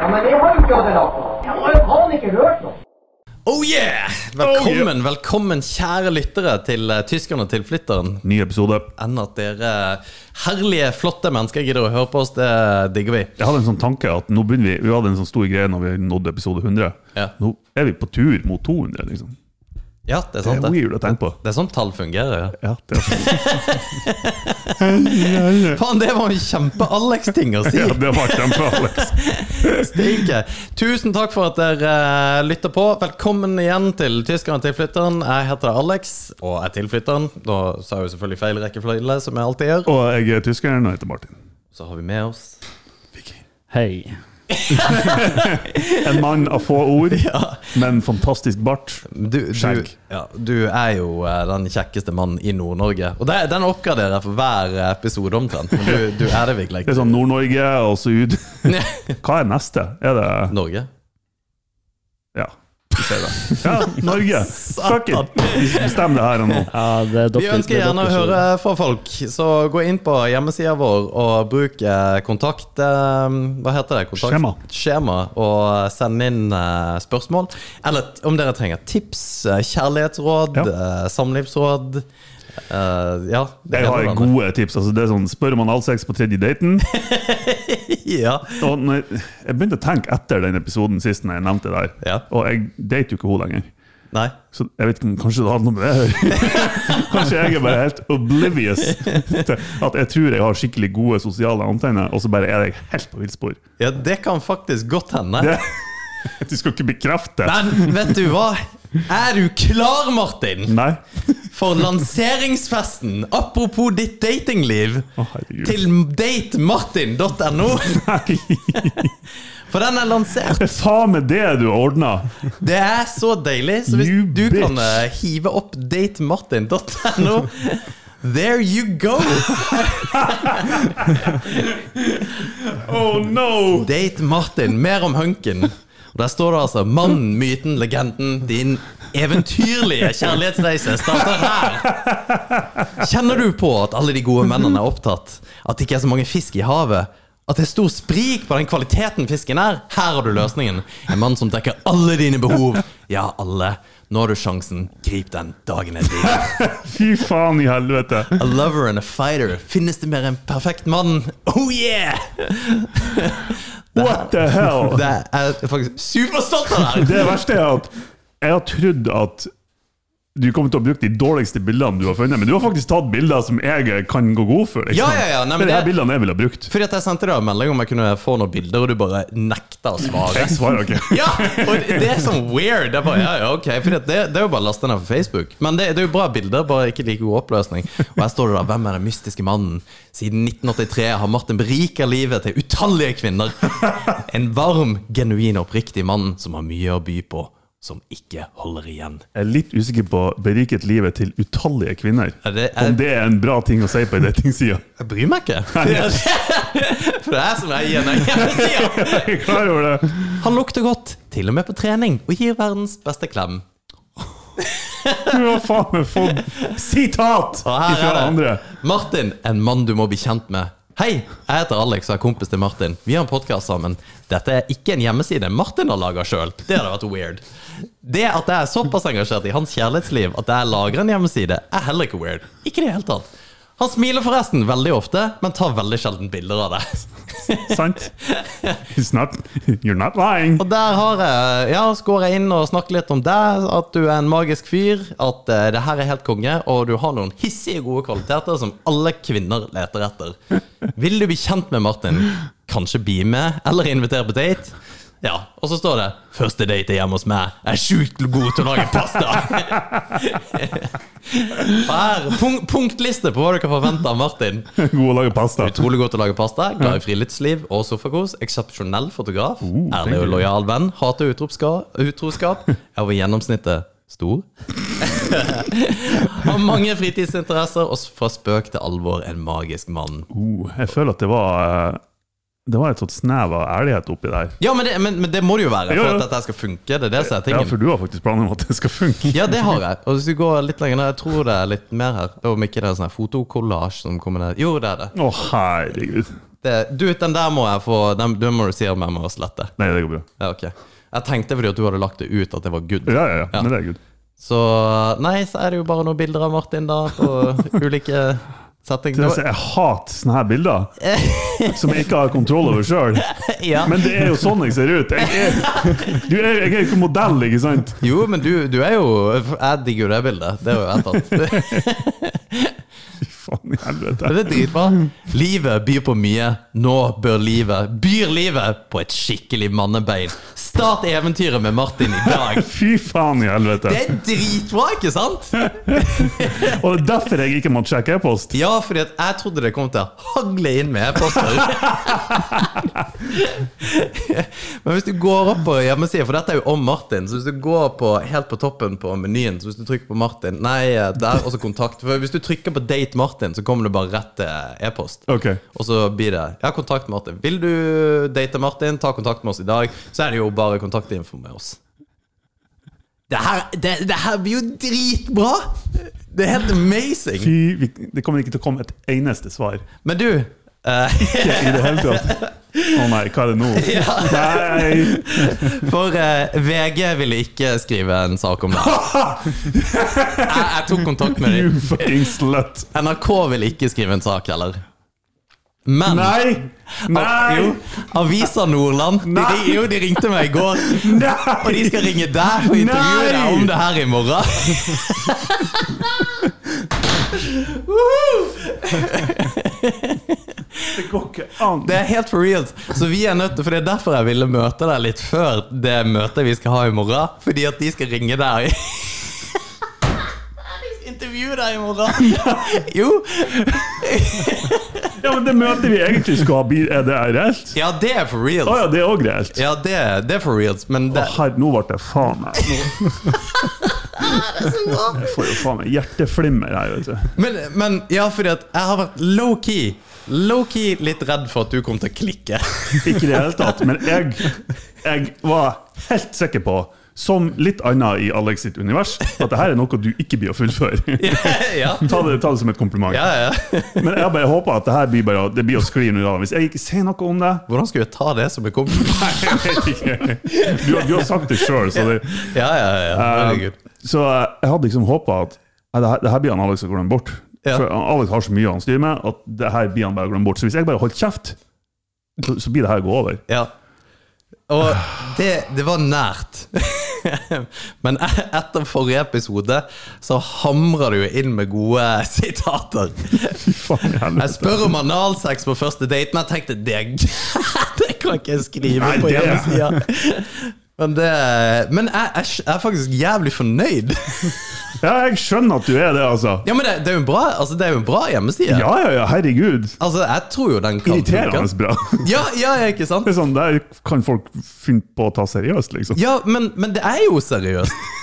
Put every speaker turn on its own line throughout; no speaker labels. Ja, men jeg har jo ikke hatt det lagt på. Jeg har jo faen ikke hørt noe.
Oh yeah! Velkommen, velkommen kjære lyttere til uh, Tyskerne til flytteren.
Ny episode.
Enn at dere eh, herlige, flotte mennesker gidder å høre på oss, det digger vi.
Jeg hadde en sånn tanke at nå begynner vi Vi hadde en sånn stor greie når vi nådde episode 100.
Ja.
Nå er vi på tur mot 200, liksom.
Ja, det er
Det
sant
er
det.
weird å tenke på.
Det er sånn tall fungerer. ja.
Ja, det er
Faen, det var en kjempe-Alex-ting å si!
ja, det var kjempebra, Alex.
Stinke. Tusen takk for at dere eh, lytter på. Velkommen igjen til Tyskerne til flytteren. Jeg heter Alex, og jeg er tilflytteren. Da sa jeg jo selvfølgelig feil rekkefølge, som jeg alltid gjør.
Og jeg er tyskeren og heter Martin.
Så har vi med oss
Hei.
En mann av få ord, men fantastisk bart.
Du, du,
Skjegg.
ja, du er jo eh, den kjekkeste mannen i Nord-Norge. Og det, den oppgraderer jeg for hver eh, episode omtrent. Men du, du er det virkelig.
Det er sånn Nord-Norge og Syd. Hva er neste? Er det
Norge.
Ja. vi ser det. Ja, Norge. Fuck it! Bestem det her og nå.
Ja, det er
Vi
dere-
ønsker
det er
gjerne å
dere som-
høre fra folk, så gå inn på hjemmesida vår og bruk eh, kontakt... eh, Hva heter det? Kontakt-
Skjema.
Skjema, og send inn eh, spørsmål. Eller t- om dere trenger tips, eh, kjærlighetsråd, eh, samlivsråd eh, Ja. det
Jeg
ene og
har
det andre.
gode tips. Altså, det er sånn, Spør om han all sex på tredje daten.
Ja.
Og når jeg, jeg begynte å tenke etter den episoden sist når jeg nevnte det der.
Ja.
Og jeg dater jo ikke henne lenger.
Nei.
Så jeg vet ikke om kanskje det hadde noe med det å gjøre. Kanskje jeg er bare helt oblivious til at jeg tror jeg har skikkelig gode sosiale antenner, og så bare er jeg helt på villspor.
Ja, det kan faktisk godt hende.
Det- Du skal ikke bekrefte.
Men vet du hva? Er du klar, Martin,
Nei.
for lanseringsfesten? Apropos ditt datingliv.
Å, herregud.
Til datemartin.no.
Nei.
For den er lansert.
Det er faen meg det du har ordna!
Det er så deilig. Så hvis
You
du kan
bitch.
eh, hive opp datemartin.no There you go!
Oh no!
Date Martin. Mer om hunken. Og Der står det altså 'Mannen, myten, legenden'. Din eventyrlige kjærlighetsreise starter her. Kjenner du på at alle de gode mennene er opptatt? At det ikke er så mange fisk i havet? At det er stor sprik på den kvaliteten fisken er? Her har du løsningen. En mann som dekker alle dine behov. Ja, alle. Nå har du sjansen. Grip den. Dagen er din.
Fy faen i helvete.
A lover and a fighter. Finnes det mer en perfekt mann? Oh yeah!
What the hell?
Det er jeg faktisk superstolt av deg!
Det verste er at jeg har trodd at du kommer til å bruke de dårligste bildene du har funnet, men du har faktisk tatt bilder som jeg kan gå god for. Liksom.
Ja, ja, ja, nei, men
det er de her
det-
bildene jeg ville ha brukt.
Fordi at jeg sendte deg en melding om jeg kunne få noen bilder, og du bare nekta å svare.
Jeg svarer ikke.
Ja, og det er sånn weird. Det er, bare, ja, ja, ok Fordi at det, det er jo bare å laste ned på Facebook. Men det, det er jo bra bilder, bare ikke like god oppløsning. Og her står det da 'Hvem er den mystiske mannen?' Siden 1983 har Martin berika livet til utallige kvinner. En varm, genuin, oppriktig mann som har mye å by på, som ikke holder igjen.
Jeg er litt usikker på 'beriket livet til utallige kvinner'.
Ja, det er-
Om det er en bra ting å si på ei datingside.
Jeg bryr meg ikke. For det er som jeg gir deg hjemmesida.
Jeg er klar over det.
Han lukter godt, til og med på trening, og gir verdens beste klem.
Du har faen meg fått sitat
Og her
fra
er det.
andre.
Martin, en mann du må bli kjent med. Hei, jeg heter Alex og er kompis til Martin. Vi har en podkast sammen. Dette er ikke en hjemmeside Martin har laga sjøl. Det hadde vært weird. Det at jeg er såpass engasjert i hans kjærlighetsliv at jeg lager en hjemmeside, er heller ikke weird. Ikke i det hele tatt. Han smiler forresten veldig ofte, men tar veldig sjelden bilder av det.
Sant? It's not, you're not lying.
Og der har jeg, ja, så går jeg inn og snakker litt om deg, at du er en magisk fyr, at eh, det her er helt konge, og du har noen hissige gode kvaliteter som alle kvinner leter etter. Vil du bli kjent med Martin? Kanskje bli med, eller invitere på date? Ja, Og så står det 'Første date er hjemme hos meg. Jeg er sjukt god til å lage pasta'. Her, punk punktliste på hva dere forventer av Martin.
God å lage pasta.
Utrolig god til å lage pasta, glad i friluftsliv og sofakos. Eksepsjonell fotograf.
Oh,
Ærlig og lojal venn. Hater utroska- utroskap. Er over gjennomsnittet stor. Har mange fritidsinteresser, og fra spøk til alvor en magisk mann.
Oh, jeg føler at det var eh, Det var et sånt snev av ærlighet oppi der.
Ja, men det, men, men det må det jo være
Ja,
for
ja.
at dette her skal funke. Det er det som er
Ja, for
tingen.
du har faktisk planer om at det skal funke.
Ja, det har jeg. Og hvis du går litt lenger ned, jeg tror det er litt mer her. Om ikke det er sånn her fotokollasj som kommer ned. Jo, det er det.
Å, herregud.
det. Du, den der må jeg få Den, den må du si om jeg må slette.
Nei, det går bra.
Ja, ok. Jeg tenkte fordi at du hadde lagt det ut at det var good.
Ja, ja, ja.
Ja.
Men det er good.
Så nei, så er det jo bare noen bilder av Martin da, på ulike
Det er
settinger.
altså, Jeg hater sånne her bilder som jeg ikke har kontroll over sjøl.
Ja.
Men det er jo sånn jeg ser ut. Jeg er, du er, jeg er ikke modell, ikke sant?
Jo, men du, du er jo Jeg digger jo det bildet. Det er jo vedtatt.
Faen i helvete.
Men Det er dritbra. Livet byr på mye. Nå bør livet Byr livet på et skikkelig mannebein. Start eventyret med Martin i dag.
Fy faen i helvete.
Det er dritbra, ikke sant?
Og det er derfor jeg ikke måtte sjekke e-post.
Ja, fordi at jeg trodde det kom til å hagle inn med e-poster. Men hvis du går opp på hjemmesida, for dette er jo om Martin, så hvis du går på, helt på toppen på menyen, så hvis du trykker på Martin Nei, eh, der, og så kontakt. For hvis du trykker på Date Martin, så kommer du bare rett til e-post.
Ok.
Og så blir det Ja, kontakt Martin. Vil du date Martin, ta kontakt med oss i dag. Så er det jo bare kontaktinfo med oss. Det her, det, det her blir jo dritbra! Det er helt amazing.
Fy, vi, det kommer ikke til å komme et eneste svar.
Men du eh,
I det hele tatt. Å nei, hva er det nå? Nei!
For eh, VG ville ikke skrive en sak om det. Jeg, jeg tok kontakt med
You
dem.
fucking slut.
NRK ville ikke skrive en sak heller. Men
Nei! Nei!
Jo, Avisa Nordland de,
Nei!
ring- Jo, de ringte meg i går. Og de
Nei!
skal ringe deg og intervjue
Nei!
deg om det her i morgen.
Det går ikke an.
Det er helt for real. Så vi er nødt til, for det er derfor jeg ville møte deg litt før det møtet vi skal ha i morgen. Fordi at de skal ringe deg. De skal intervjue deg i morgen. Jo.
Ja, men det møtet vi egentlig skulle ha, blir- er det reelt?
Ja, det er for real.
Å ja, det er òg reelt?
Ja, det, det er for real. Men det,
Å, herre, nå ble det faen meg nå- Jeg får jo faen meg hjerteflimmer her, vet du.
men, men ja, fordi at jeg har vært low-key. Low-key litt redd for at du kom til å klikke.
Ikke i det hele tatt, men jeg, jeg var helt sikker på, som litt annet i Alex sitt univers, at det her er noe du ikke blir å fullføre.
ja,
Ta det, ta det som et kompliment.
ja, ja.
Men jeg bare håper at det her blir bare det blir å skli under Hvis jeg ikke sier noe om det
Hvordan skulle jeg ta det som en kompliment?
Jeg vet ikke. Du, har- du har sagt det sjøl, så det
Ja, ja,
Eh,
ja. Herregud.
Så eh, jeg hadde liksom håpa at nei, det, her, det her blir han Alex som glemmer bort.
Ja.
For Alex har så mye han styrer med, at det her blir han bare glemt bort. Så hvis jeg bare holdt kjeft, så, så blir det her gå over.
Ja. Og det, det var nært. Men e- etter forrige episode så hamra du inn med gode sitater.
Fy faen i
Jeg
helvete.
spør om analsex på første date, men jeg tenkte det, det kan ikke jeg skrive
Nei,
på
det-
hjemmesida. Men, det, men jeg, jeg, jeg er faktisk jævlig fornøyd.
Ja, jeg skjønner at du er det, altså.
Ja, men det, det er jo en bra, altså, det er jo en bra hjemmeside.
Ja, ja, ja, herregud.
Altså, jeg tror jo den kan
Irriterende
funke.
bra.
Ja, ja, ja, ikke sant?
Det er sånn, Der kan folk finne på å ta seriøst, liksom.
Ja, men, men det er jo seriøst.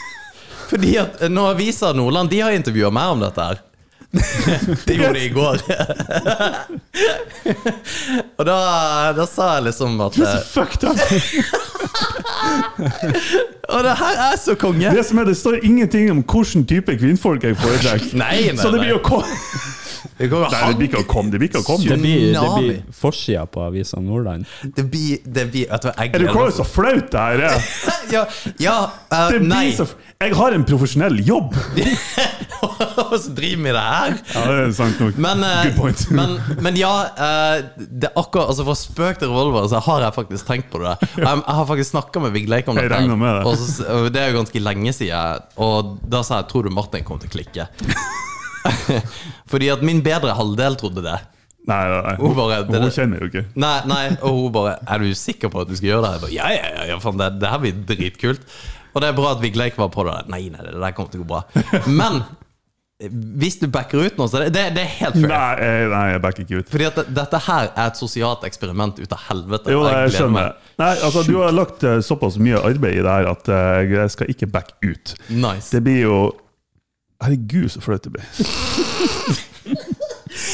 Fordi at nå Avisa Nordland de har intervjua meg om dette her. Det gjorde de i går. Og da, da sa jeg liksom at eh,
Fuck da.
Og eh, det her er så konge!
Det som er, det står ingenting om hvilken type kvinnfolk jeg foretrekker.
Nei, nei,
Så det blir
nei.
jo kom...
Det går
Nei, det blir ikke å komme. Det blir ikke å komme.
Det blir, det
Tsunami.
blir forsida på avisa Nordland.
Det blir, det blir vet du hva, jeg
Er du klar over
gleder
så flaut det her er?
meg. Ja, ja eh,
Det
nei.
blir så... Jeg har en profesjonell jobb!
Og så driver vi det her.
Ja, det er sant nok.
Men, eh,
Good point.
men, men ja, eh, det er akkurat altså For spøk til revolver så har jeg faktisk tenkt på det. Jeg, jeg har faktisk snakka med Vigleik om
Jeg
dette.
regner med det.
Og så, og det er jo ganske lenge siden. Og da sa jeg 'tror du Martin kommer til å klikke'? Fordi at min bedre halvdel trodde det.
Nei, nei, nei.
Hun bare, det-
hun kjenner jo ikke.
Nei, nei, og hun bare 'Er du sikker på at du skal gjøre det?' Jeg bare, ja, ja, ja, ja, faen, det, det her blir dritkult. Og det er bra at Vigleik var på det. Nei, nei, det der kommer til å gå bra. Men eh, hvis du backer ut nå, så det, det, det er helt fair.
Nei, eh, nei, jeg backer ikke ut.
Fordi at det- dette her er et sosialt eksperiment ut av helvete.
Jo,
og
jeg
gleder
skjønner.
meg.
Nei, altså, du har lagt eh, såpass mye arbeid i det her at eh, jeg skal ikke backe ut.
Nice.
Det blir jo Herregud, så flaut det blir.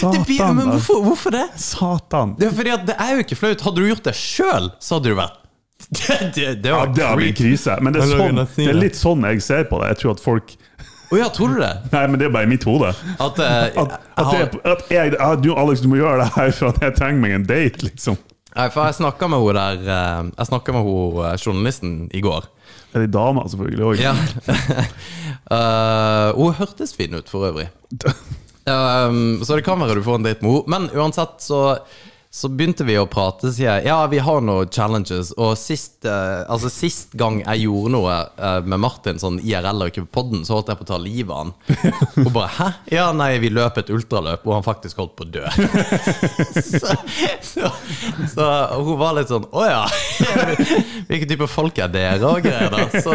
Det blir,
Satan,
men
da.
hvorfor, hvorfor det?
Satan.
Det er, fordi at det er jo ikke flaut. Hadde du gjort det sjøl, så hadde du vært Det, det, det
Ja,
var
det har blitt
creep.
krise. Men det er,
Jeg lager
sånn,
nesten
det er
ingen.
litt sånn jeg ser på det. Jeg tror at folk
Å ja, tror du det?
Nei, men det er bare i mitt hode.
At, eh,
At, at,
jeg,
det, at jeg, ja, du, Alex, du må gjøre det her for at jeg trenger meg en date, liksom.
Nei, for jeg snakka med hun der eh, Jeg snakket med hun eh, journalisten i går.
Er det dama, selvfølgelig òg?
Ja. Eh, hun hørtes fin ut, for øvrig. Um, så det kan være du får en date med henne. Men uansett så, så begynte vi å prate. Sier jeg ja, vi har noen challenges. Og sist, eh, altså, sist gang jeg gjorde noe eh, med Martin, sånn IRL og ikke på podden, så holdt jeg på å ta livet av han. Og bare hæ? Ja, nei, vi løp et ultraløp, og han faktisk holdt på å dø. så, så, så hun var litt sånn Å ja! Hvilken type folk er dere? Og greier der. Så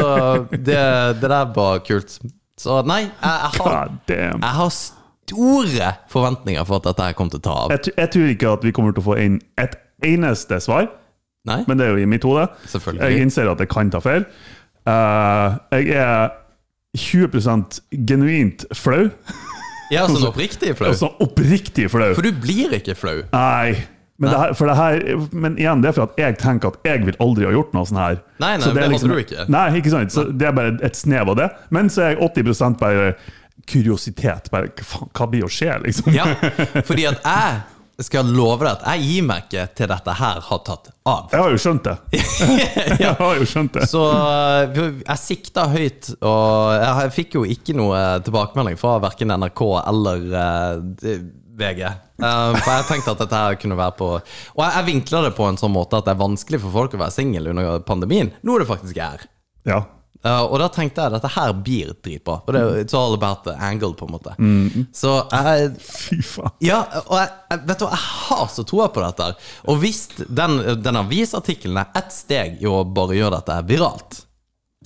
det, det der var kult. Så nei, jeg, jeg har
God damn.
jeg har store forventninger for at dette her kommer til å ta av.
Jeg, tr- jeg tror ikke at vi kommer til å få inn et eneste svar,
Nei?
men det er jo i mitt hode.
Selvfølgelig.
Jeg innser at jeg kan ta feil. Eh, jeg er 20 genuint flau.
Jeg er sånn oppriktig flau.
Altså oppriktig flau.
For du blir ikke flau.
Nei. Men, det her, for det her, men igjen, det er for at jeg tenker at jeg vil aldri ha gjort noe sånn her.
Nei, nei,
Så
det
er liksom-
hadde du ikke.
Nei, ikke sant? Så det er bare et snev av det. Men så er jeg 80 bare kuriositet. Bare, hva faen, hva blir å skje, liksom?
Ja, fordi at jeg skal love deg at jeg gir meg ikke til dette her har tatt av.
Jeg har jo skjønt det. Jeg har jo skjønt det.
Så eh, jeg sikta høyt, og jeg fikk jo ikke noe tilbakemelding fra verken NRK eller eh, VG. Eh, For jeg tenkte at dette her kunne være på Og jeg, jeg vinkla det på en sånn måte at det er vanskelig for folk å være singel under pandemien. Nå er det faktisk jeg er.
Ja.
Uh, og da tenkte jeg at dette her blir dritbra. For det er jo- It's all about the angle, på en måte. Så jeg
Fy faen.
Ja, og jeg, jeg, vet du hva, jeg har så troa på dette. her Og hvis den, den avisartikkelen er ett steg i å bare gjøre dette her viralt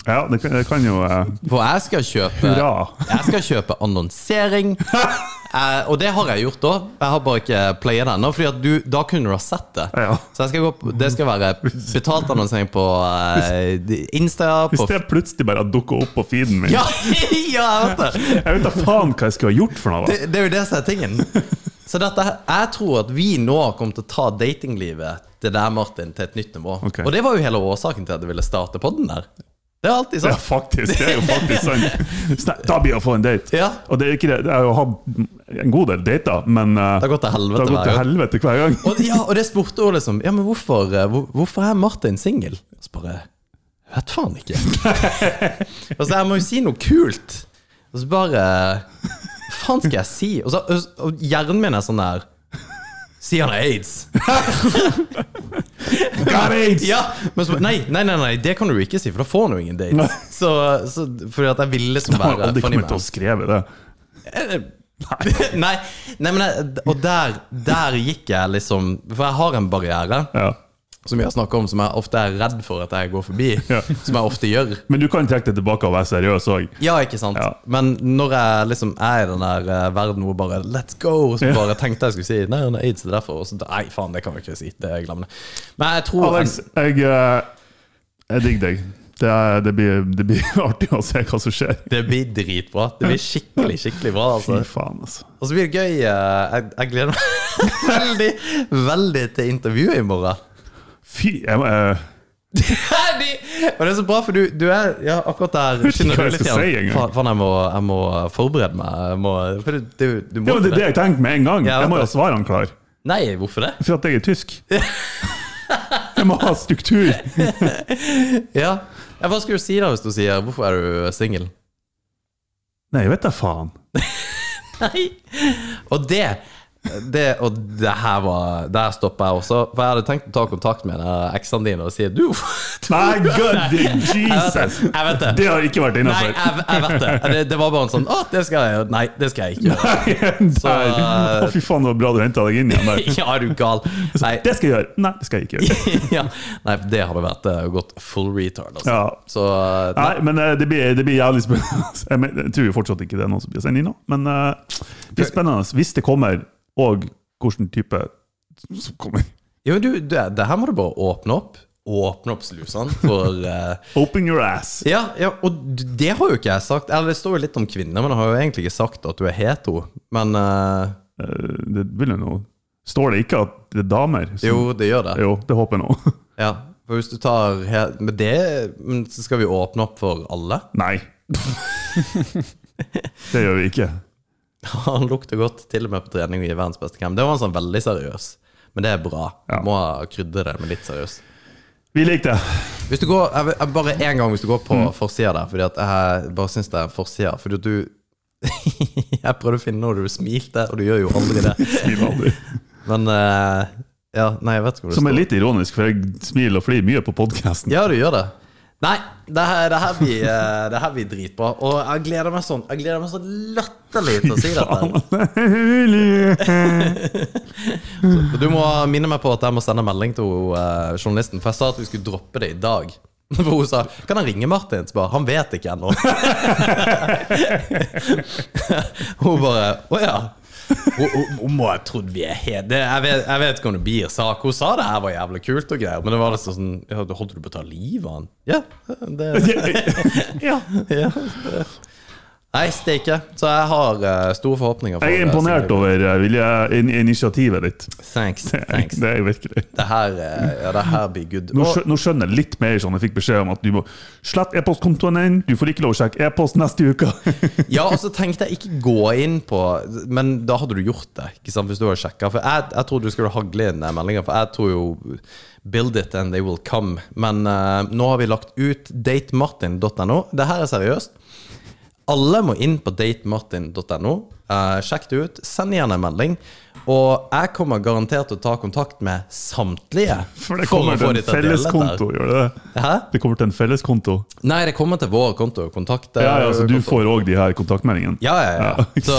Ja, det kan, det kan jo eh,
For jeg skal kjøpe
Hurra.
Jeg skal kjøpe annonsering. Eh, og det har jeg gjort òg. Jeg har bare ikke playa det ennå, Fordi at du, da kunne du ha sett det.
Ja.
Så jeg skal gå på, det skal være betalt annonsering på eh, Insta,
Hvis
på
det plutselig bare dukker opp på feeden min
Ja, ja, jeg vet det!
Jeg vet da faen hva jeg skulle ha gjort for noe. da.
Det, det er jo det som er tingen. Så dette, her- jeg tror at vi nå kommer til å ta datinglivet til deg, Martin, til et nytt nivå.
Ok.
Og det var jo hele årsaken til at jeg ville starte podden der. Det er alltid
Ja,
sånn.
faktisk. Det er jo faktisk sant. Så nei, Da blir det å få en date.
Ja.
Og det er ikke det. Jeg har jo hatt en god del dater, men eh,
Det har gått til
det
helvete
har gått
hver
til
gang.
helvete hver gang.
Og, ja, og det spurte hun liksom Ja, men hvorfor, eh, hvor, hvorfor er Martin singel? Og så bare «Jeg Vet faen ikke. og så jeg må jo si noe kult. Og så bare Hva faen skal jeg si? Og, så, og- og hjernen min er sånn der Si han har aids.
Got AIDS!
Ja, men så, nei, nei, nei, nei, det kan du ikke si, for da får han jo ingen date. Så, så, fordi at jeg ville liksom
Jeg har
være
aldri
funny
kommet til
man.
å skrive det.
Nei, nei, men jeg, og der, der gikk jeg liksom For jeg har en barriere
Ja.
som jeg snakker om, som jeg ofte er redd for at jeg går forbi.
Ja.
Som jeg ofte gjør.
Men du kan trekke det tilbake og være seriøs òg.
Ja, ikke sant?
Ja.
Men når jeg liksom er i den der eh, verden hvor bare Let's go! Så
Ja.
bare tenkte jeg skulle si Nei, han har aids, det er derfor. Og så nei, faen, det kan jeg ikke si. Det glemmer jeg. Men jeg tror
Alex, jeg, eh, jeg digger deg. Det, er, det, blir, det blir artig å se hva som skjer.
det blir dritbra. Det blir skikkelig, skikkelig bra.
Fy
altså
faen, altså.
Og så blir det gøy. eh, Jeg, jeg gleder meg veldig, veldig til intervjuet i morgen.
Fy jeg, må- eh,
Fordi, og det er så bra, for du, du er ja, akkurat der
Vet ikke hva jeg skal si engang.
Faen, faen, jeg, må, jeg må forberede meg. Jeg må, for du, du, du må
ja, men det er det jeg tenker med en gang.
Ja,
Jeg må
vet
jo ha
det.
svarene klare.
Nei, hvorfor det?
For at jeg er tysk. Jeg må ha struktur.
Ja. ja Hva skal du si da hvis du sier 'hvorfor er du singel'?
Nei, vet da faen.
Nei. Og det Det, og det her var Der stopper jeg også. For jeg hadde tenkt å ta kontakt med den eksene dine og si du
My God,
Jeg vet det.
Jesus!
Jeg vet det.
Det har ikke vært
Nei,
innafor.
jeg, jeg vet det. det. Det var bare en sånn Å, det skal jeg gjøre. Nei, det skal jeg ikke gjøre. Så- eh,
Å, fy faen, det var bra du henta deg inn igjen der.
Ja, er du gal? Nei,
Det skal jeg gjøre. Nei, det skal jeg ikke gjøre.
ja. Nei for det hadde vært eh, gått full retard, altså.
Ja.
Så nei.
Nei, men eh, det blir, det blir jævlig spennende. Jeg men- Jeg tror jo fortsatt ikke det er noen som blir sendt inn nå, men eh, det blir spennende hvis det kommer, og hvilken type som kommer.
Jo, men du, det, det her må du bare åpne opp. Åpne opp slusene for eh,
Open your ass!
ja, ja, og d- det har jo ikke jeg sagt. Eller det står jo litt om kvinner, men jeg har jo egentlig ikke sagt at du er hetero. Men eh,
Eh, Det vil jeg nå Står det ikke at det er damer? som-
jo, det gjør det.
Jo, det håper jeg nå.
Ja, for hvis du tar he- Men det men så skal vi åpne opp for alle.
Nei. Det gjør vi ikke.
Han lukter godt, til og med på trening i verdens beste camp. Det var han sånn veldig seriøs, men det er bra.
Ja.
Må krydre det med litt seriøs.
Vi liker det.
Hvis du går, jeg, vil- jeg, bare en gang hvis du går på
Mm.
forsida der, fordi at jeg bare syns det er en forsida. Fordi at du Jeg prøvde å finne noe du smilte, og du gjør jo aldri det.
Vi var aldri-
Men eh, ja, nei, jeg vet ikke hvor det
Som er
står.
litt ironisk, for jeg smiler og flirer mye på podkasten.
Ja, du gjør det. Nei, det her, det her, blir, eh, det her blir dritbra. Og jeg gleder meg sånn Jeg gleder meg sånn latterlig til å si dette. Og Du må minne meg på at jeg må sende melding til eh, journalisten, for jeg sa at vi skulle droppe det i dag. For hun sa 'Kan han ringe Martin?' Så bare 'Han vet ikke ennå'. hun bare 'Å ja'. Hun, hun, hun må ha trodd vi er helt det- Jeg vet, jeg vet ikke om det blir sak. Hun sa det her var jævlig kult og greier, men det var liksom sånn ja, 'Holdt du på å ta livet av han?' Ja. Det,
Ja.
ja. Nei, steike. Så jeg har eh, store forhåpninger. For
Jeg er
det,
imponert
så-
over eh, vilje, in, initiativet ditt.
Thanks. thanks.
Det er jeg virkelig.
Det her, eh, ja, det her blir good.
Nå,
Og-
skjø- nå skjønner jeg litt mer sånn jeg fikk beskjed om at du må slette e-postkontoen din, du får ikke lov å sjekke e-post neste uke.
Ja, og så tenkte jeg ikke gå inn på Men da hadde du gjort det, ikke sant, hvis du hadde sjekka. For jeg, jeg trodde du skulle hagle inn den meldinga, for jeg tror jo Build it and they will come. Men eh, nå har vi lagt ut datemartin.no. Det her er seriøst. Alle må inn på datemartin.no. eh, sjekk det ut. Send gjerne en melding. Og jeg kommer garantert til å ta kontakt med samtlige.
For det
for å
kommer
få
til
de å dele
en
dette her.
felleskonto, gjør det det?
Hæ?
Det kommer til en felleskonto.
Nei, det kommer til vår konto. Kontakt. eh,
Ja, ja, så du
konto.
får òg de her kontaktmeldingene?
Ja, ja, ja.
Ja.
Så,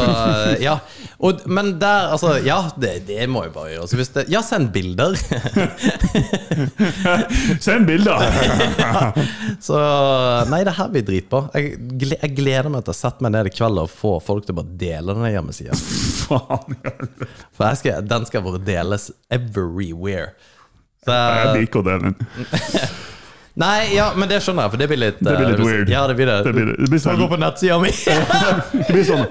eh, ja. Og, men der, altså Ja, det, det må jeg bare gjøre. Så hvis det, ja, send bilder.
Send bilder!
Så Nei, det her blir dritbra. Jeg, gle- jeg gleder meg til å sette meg ned i kveld og få folk til å bare dele den hjemmesida.
Faen, ja.
For jeg skal, den skal bare deles everywhere.
jeg
Så,
liker det, men
nei, ja, men det skjønner jeg, for det blir litt
det blir litt
eh,
weird.
Ja, det blir det.
Det blir, det blir
Gå
sånn,
på nettsida mi!
det blir sånn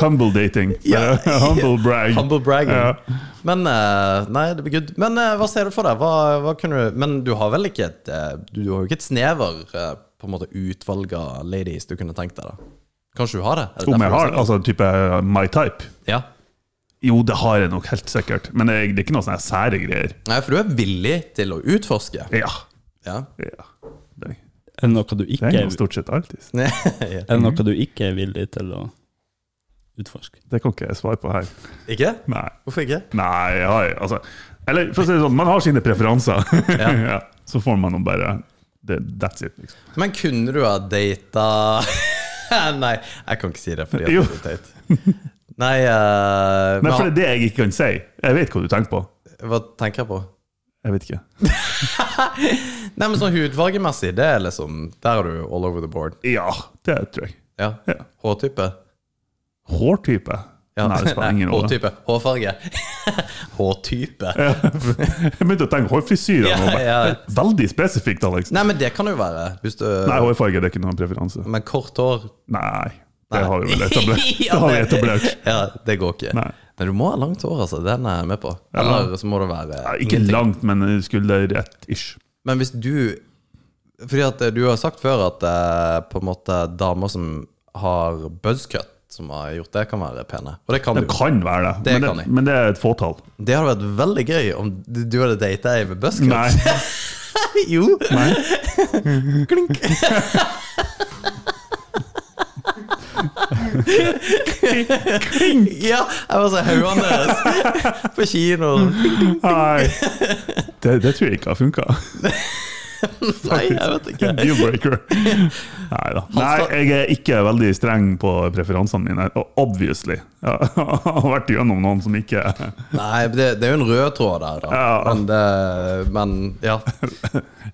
humble dating. Eh,
Ja.
Humble brag.
Humble bragging.
Mm. Ja.
Men eh, Nei, det blir good. Men eh, hva ser du for deg? Hva, hva kunne du Men du har vel ikke et eh, Du har jo ikke et snever eh, På en måte utvalg av ladies du kunne tenkt deg, da? Kanskje du har det? Er det
Om
derfor
jeg
du
har
sier
altså type uh, my type?
det? Ja.
Jo, det har jeg nok helt sikkert, men det er, det er ikke noe sånne sære greier.
Nei, for du er villig til å utforske?
Ja.
Ja.
ja. Det
Er det noe du
det
ikke
er
er,
jo stort sett alltid.
Ja.
er, det noe du ikke er villig til å utforske?
Det kan ikke jeg svare på her.
Ikke?
Nei.
Hvorfor ikke?
Nei, jeg har, altså Eller for å si det sånn, man har sine preferanser. Ja. så får man nå bare det, That's it, liksom.
Men kunne du ha data Nei, jeg kan ikke si det fordi at
Jo.
det blir teit. Nei eh,
Men
men,
for det er det jeg ikke kan si. Jeg vet hva du tenker på.
Hva tenker jeg på?
Jeg vet ikke.
Nei, men sånn hudfargemessig, det er liksom Der er du all over the board.
Ja, det tror jeg.
Ja.
Ja.
Hårtype.
Hårtype?
Ja.
Nei, det spiller ingen rolle.
Hårtype. Hårfarge. Hårtype.
Jeg begynte å tenke hårfrisyre.
Ja,
nå, bare.
ja.
Det er Veldig spesifikt, Alex.
Nei, men det kan jo være. Hvis du,
Nei, hårfarge det er ikke noen preferanse.
men kort hår
Nei,
Nei.
det har vi vel etablert.
Ja,
Det har vi
det-
etablert.
Ja, det går ikke.
Nei.
Men du må ha langt hår, altså. Den er jeg med på. Eller så må det være
Ja, Ikke
ingenting.
langt, men skulderrett-ish.
Men hvis du Fordi at eh, du har sagt før at eh, på en måte damer som har buzzcut, som har gjort det, kan være pene. Og det kan du.
Det kan være det,
Det
men,
kan
det
jeg.
men det er et fåtall.
Det hadde vært veldig gøy om du du hadde data ei med buzzcut.
Nei.
jo.
Nei.
Klink. Ja, jeg var så haugende deres på kino.
Nei. Det, det tror jeg ikke har funka.
Nei, jeg vet ikke.
Deal-breaker. Nei da. Nei, jeg er ikke veldig streng på preferansene mine. Obviously. Jeg har vært gjennom noen som ikke
Nei, men det, det er jo en rød tråd der, da.
Ja.
Men, det, men ja.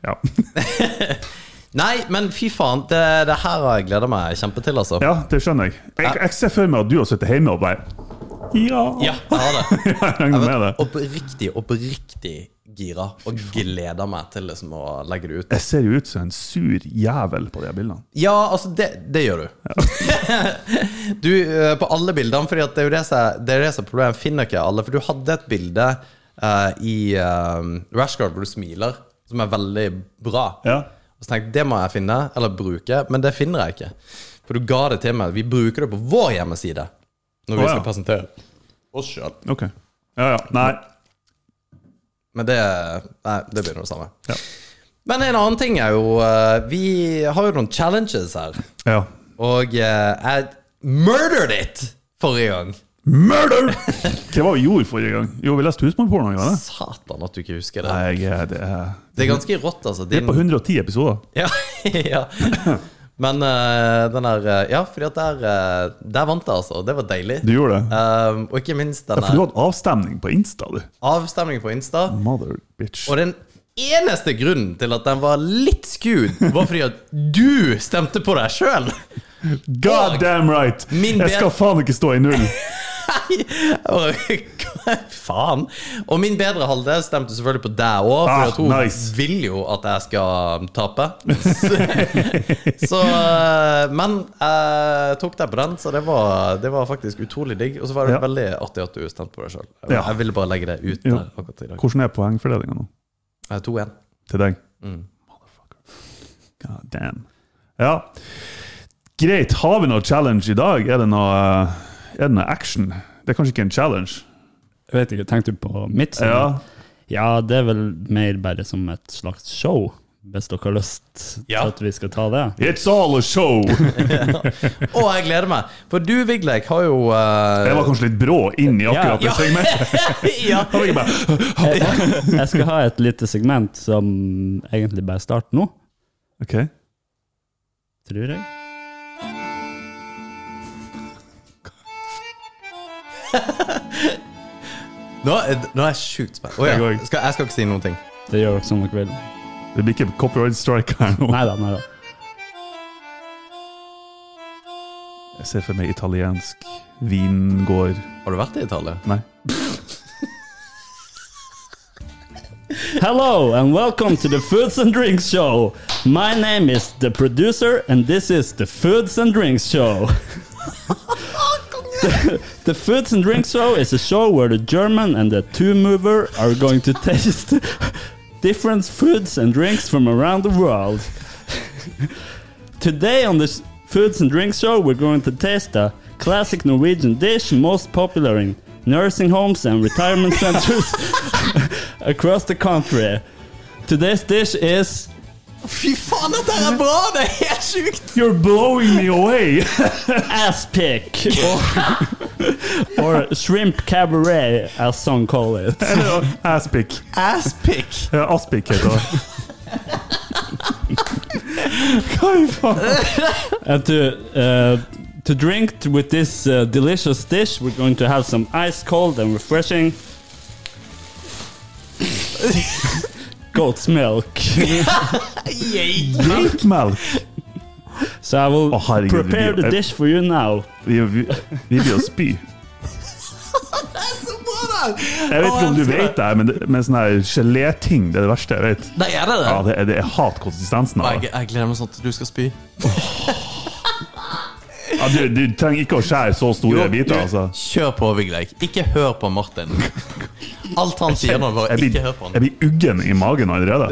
Ja.
Nei, men fy faen, det, det her har jeg gleda meg kjempe til, altså.
ja, det skjønner jeg. jeg. Jeg ser for meg at du har sittet hjemme og bare Ja!
Ja, jeg har det.
Jeg regner med det.
Oppriktig, oppriktig gira, og gleder meg til liksom å legge det ut.
Jeg ser jo ut som en sur jævel på de bildene.
Ja, altså, det, det gjør du. du, eh, På alle bildene, for det er jo det som er- det er det som er problemet. Jeg finner ikke alle. For du hadde et bilde eh, i um, Rashguard hvor du smiler, som er veldig bra.
Ja.
Og så tenkte jeg det må jeg finne, eller bruke, men det finner jeg ikke. For du ga det til meg. Vi bruker det på vår hjemmeside når vi
Å, ja.
skal presentere oss sjøl.
Ok. Ja, ja. Nei.
Men det, nei, det blir nå det samme.
Ja.
Men en annen ting er jo eh, Vi har jo noen challenges her.
Ja.
Og eh, jeg murdered it forrige gang.
Murder! Hva var det vi gjorde forrige gang? Jo, vi leste Husmannporno, gjorde vi det?
Satan at du ikke husker det.
Nei, jeg er- det er
Det er ganske rått, altså.
Det er på
Din-
110 episoder.
Ja, ja. Men eh, den der eh, Ja, fordi at der, eh, der vant jeg, altså. Det var deilig.
Du gjorde det?
Um, og ikke minst
Ja, for du
denne
hadde avstemning på Insta, du.
avstemningen på Insta.
Mother bitch.
Og den eneste grunnen til at den var litt skewed, var fordi at du stemte på deg sjøl!
God damn right!
Min
Jeg skal
bet-
faen ikke stå i null.
Faen! Og min bedre halvdel stemte selvfølgelig på deg òg, for
Ah,
at hun
nice.
vil jo at jeg skal tape. Så- så, eh, men jeg tok deg på den, så det var, det var faktisk utrolig digg. Og så var det
Ja.
veldig artig at du stemte på deg sjøl. Jeg,
Ja.
jeg ville bare legge det ut
Jo.
der akkurat i dag.
Hvordan er poengfordelinga nå?
Eh, 2-1.
Til deg?
Mm.
God damn. Ja. Greit. Har vi noe challenge i dag? Er det noe, eh, er det noe action? Det er kanskje ikke en challenge?
Jeg vet ikke, tenkte du på mitt? sånn?
Ja.
ja, det er vel mer bare som et slags show, hvis dere har lyst til
Ja.
at vi skal ta det.
It's all a show! Jeg
Å, jeg gleder meg! For du, Vigleik, har jo eh,
var kanskje litt brå inn i akkurat det
Ja.
segmentet.
ja.
Jeg var ikke bare,
Jeg skal ha et lite segment som egentlig bare starter nå,
Ok.
tror jeg.
Nå, er- nå er jeg sjukt spent. Å,
Jeg
ja.
går.
skal, jeg skal ikke si noen ting.
Det gjør dere som dere vil.
Det blir ikke copyright strike her nå.
Neida, neida.
Jeg ser for meg italiensk vingård
Har du vært i Italia?
Nei.
Hello and welcome to the Foods and Drinks Show. My name is the producer, and this is the Foods and Drinks Show. the, the Foods and Drinks Show is a show where the German and the two mover are going to taste different foods and drinks from around the world. Today on this Foods and Drinks Show, we're going to taste a classic Norwegian dish most popular in nursing homes and retirement centers across the country. Today's dish is
Fy faen, dette her er bra! Det er helt sjukt!
You're blowing me away!
ass pick or, or shrimp cabaret, as some call it.
Eller aspic.
Asspic!
Ja, Aspik heter det.
And to uh, to drink t- with this uh, delicious dish, we're going to have some ice cold and refreshing goat's milk.
Drinkmelk!
So I will
Å, herregud, vi
prepare
blir-
the dish for you now.
Vi, vi, vi blir å
Det
spy.
er så bra, da!
Jeg vet ikke om du vet det, her, men, det- men sånne her geléting det er det verste jeg vet.
Nei, er det det?
Ja, det, er- det, jeg hater konsistensen av
jeg,
det.
jeg gleder meg sånn til du skal spy.
Ja, du, du trenger ikke å skjære så store biter, altså.
Kjør på, Vigleik. Ikke hør på Martin. Alt han sier nå, bare
Jeg
ikke
blir,
hør på
jeg
han.
blir uggen i magen allerede.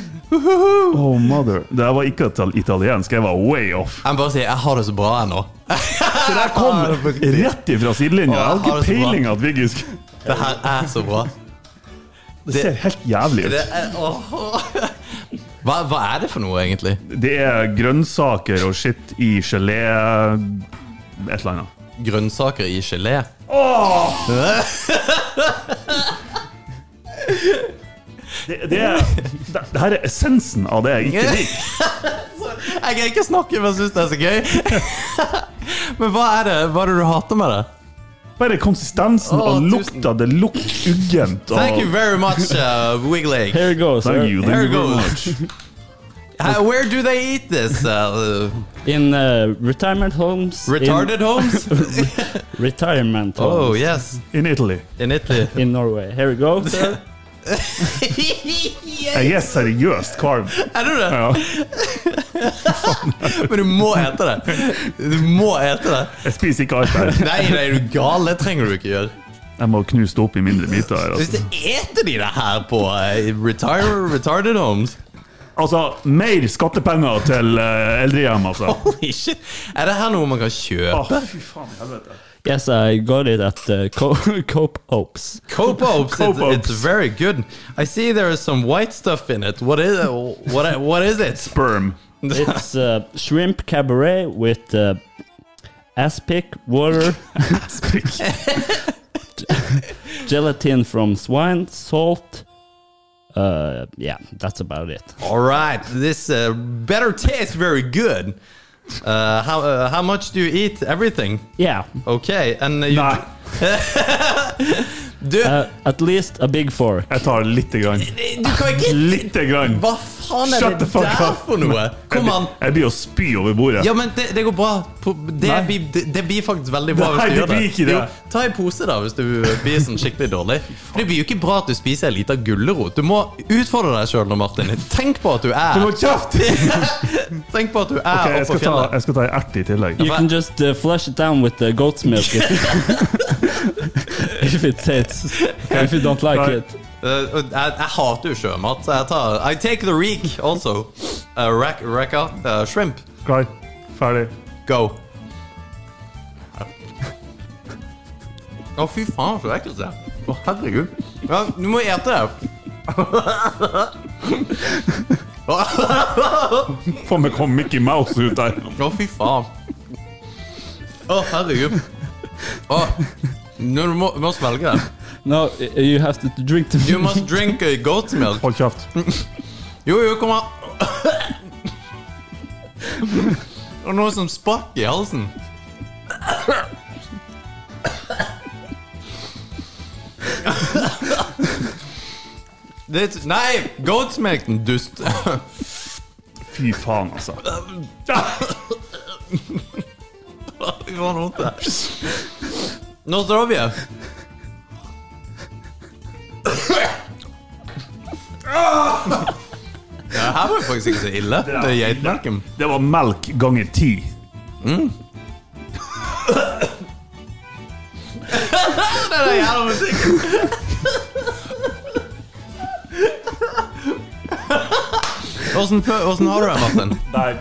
Oh, mother. Det her var ikke ital- italiensk, jeg var way off.
Jeg må bare si, jeg har det så bra ennå.
Det der
Ah,
kom rett ifra sidelinja. Jeg hadde
Å, jeg har Ah, det
ikke
så bra.
peiling at Viggy sk-
Det her er så bra.
Det ser helt jævlig
Det
ut.
er, åh. Hva, hva er det for noe, egentlig?
Det er grønnsaker og shit i gelé Et eller annet.
Grønnsaker i gelé?
Det, det, er, det, det her er essensen av det jeg ikke liker.
Jeg kan ikke snakke, men syns det er så gøy. men hva er det Hva er det du hater med det?
Bare konsistensen
Å,
og
tusen-
lukta. Det lukter uggent.
Thank you very much, uh, Wiggling.
Here it goes.
Thank
sir.
you,
There
thank
it
you very
goes.
much.
Uh, where do they eat this? Uh,
In uh, retirement homes. in-
retarded homes?
retirement
Oh,
homes
yes.
In Italy.
In Italy.
in Norway. Here we go. sir.
yes.
Jeg er seriøst kvalm.
Er du det?
Ja.
Men du må ete det. Du må ete det.
Jeg spiser ikke alt her.
Nei, nei, er du gal? Det trenger du ikke gjøre.
Jeg må knuse det opp i mindre biter. her,
Hvis
Altså.
det eter de det her på eh, retire, retarded homes
altså, mer skattepenger til eh, eldrehjem, altså.
Holy shit! Er det her noe man kan
Å,
kjøpe?
fy faen, helvete.
Yes, I got it at uh, Co- Cope Oaks.
Copopes,
Copopes.
It's, it's very good. I see there is some white stuff in it. What is what what is it?
Sperm.
It's uh, shrimp cabaret with uh, aspic, water, gelatin from swine, salt. Uh, yeah, that's about it.
All right, this uh, better taste very good. Uh, how uh, how much do you eat? Everything?
Yeah,
Okay, and you
Nei,
du,
uh, at least a big fork.
jeg tar lite grann.
du kan ikke
Lite grann.
Hva faen er
Shut
det
the fuck
der
up.
for noe?
Jeg
Kom an.
blir- Jeg blir å spy over bordet.
Ja, men det, det går bra. På- Det
Nei.
blir, det, det blir faktisk veldig bra.
Nei,
hvis du
det
gjør
blir ikke det.
Jo, ta en pose, da, hvis du blir sånn skikkelig dårlig. For Det blir jo ikke bra at du spiser en liten gulrot. Du må utfordre deg sjøl nå, Martin. Tenk på at du
Du
er
må kjeft!
Tenk på at du er
Ok,
oppe på
jeg skal, ta,
fjellet.
jeg skal ta en ert i tillegg.
You can just uh, flush it down with the goat's milk if, if it tastes, if you don't like it.
Eh, og jeg, jeg hater jo sjømat, så jeg tar I take the reek also. Uh, rack, racka, eh, shrimp.
Klar, ferdig.
Go. Å, fy faen, så ekkelt det er. Å, herregud. Ja, du må ete det.
Faen meg kom Mickey Mouse ut der.
Å, fy faen. Å, herregud. Å, nå du må, du må svelge det.
No, y- you have to drink the
You must drink uh, goat's milk.
Hold kjeft.
Jo, jo, kom her. Det var noe som sprakk i halsen. Det, er- nei, goat's milk, din dust.
Fy faen, altså.
Fy faen, vondt det er. Nå står vi her. Ja, det her var faktisk ikke så ille. Det er geitmelken.
Det var melk ganger ti.
Det er jævla musikk. Åssen fø- åssen har du det, Martin?
Nei.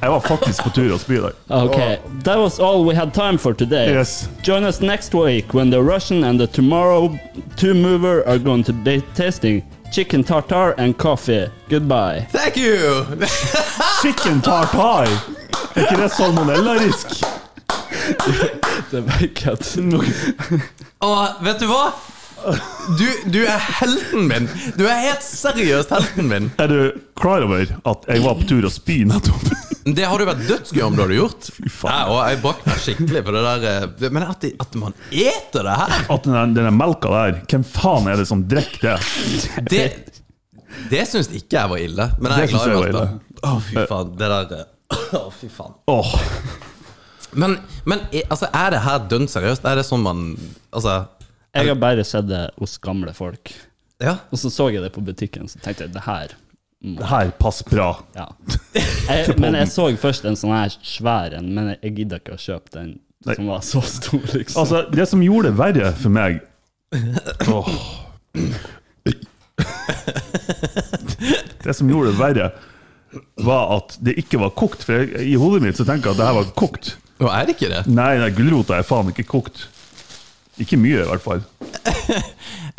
Jeg var faktisk på tur å spy i dag.
Okay, that was all we had time for today.
Yes.
Join us next week when the Russian and the Tomorrow Two Mover are going to be tasting chicken tartar and coffee. Goodbye.
Thank you!
Chicken tartar! Er ikke det salmonellarisk?
Det verkar att-
Og vet du hva? Du, du er helten min. Du er helt seriøst helten min.
Er du klar over at jeg var på tur å spy nettopp?
Det har du vært dødsgøy om du hadde gjort.
faen.
Ja, og jeg brakk meg skikkelig på det der eh, det- Men at, de, at man eter det her,
At den der melka der, hvem faen er det som drikker det?
det, det syns ikke jeg var ille. Men jeg
Det
er
syns
glad i
jeg var
Martha.
ille.
Å, fy faen. Det der eh, Å, fy faen.
Åh,
Men, men er- altså, er det her dønn seriøst? Er det sånn man Altså,
Jeg har bare sett det hos gamle folk.
ja.
Og så så jeg det på butikken, så tenkte jeg det her
det her passer bra.
Ja. Jeg, men jeg så først en sånn her svær en, men jeg- jeg gidda ikke å kjøpe den som var så stor, liksom.
Altså, det som gjorde det verre for meg Åh. Det som gjorde det verre, var at det ikke var kokt. For jeg, i hodet mitt så tenker jeg at det her var kokt.
Nå er det ikke det.
Nei, nei gulrota er faen ikke kokt. Ikke mye, i hvert fall.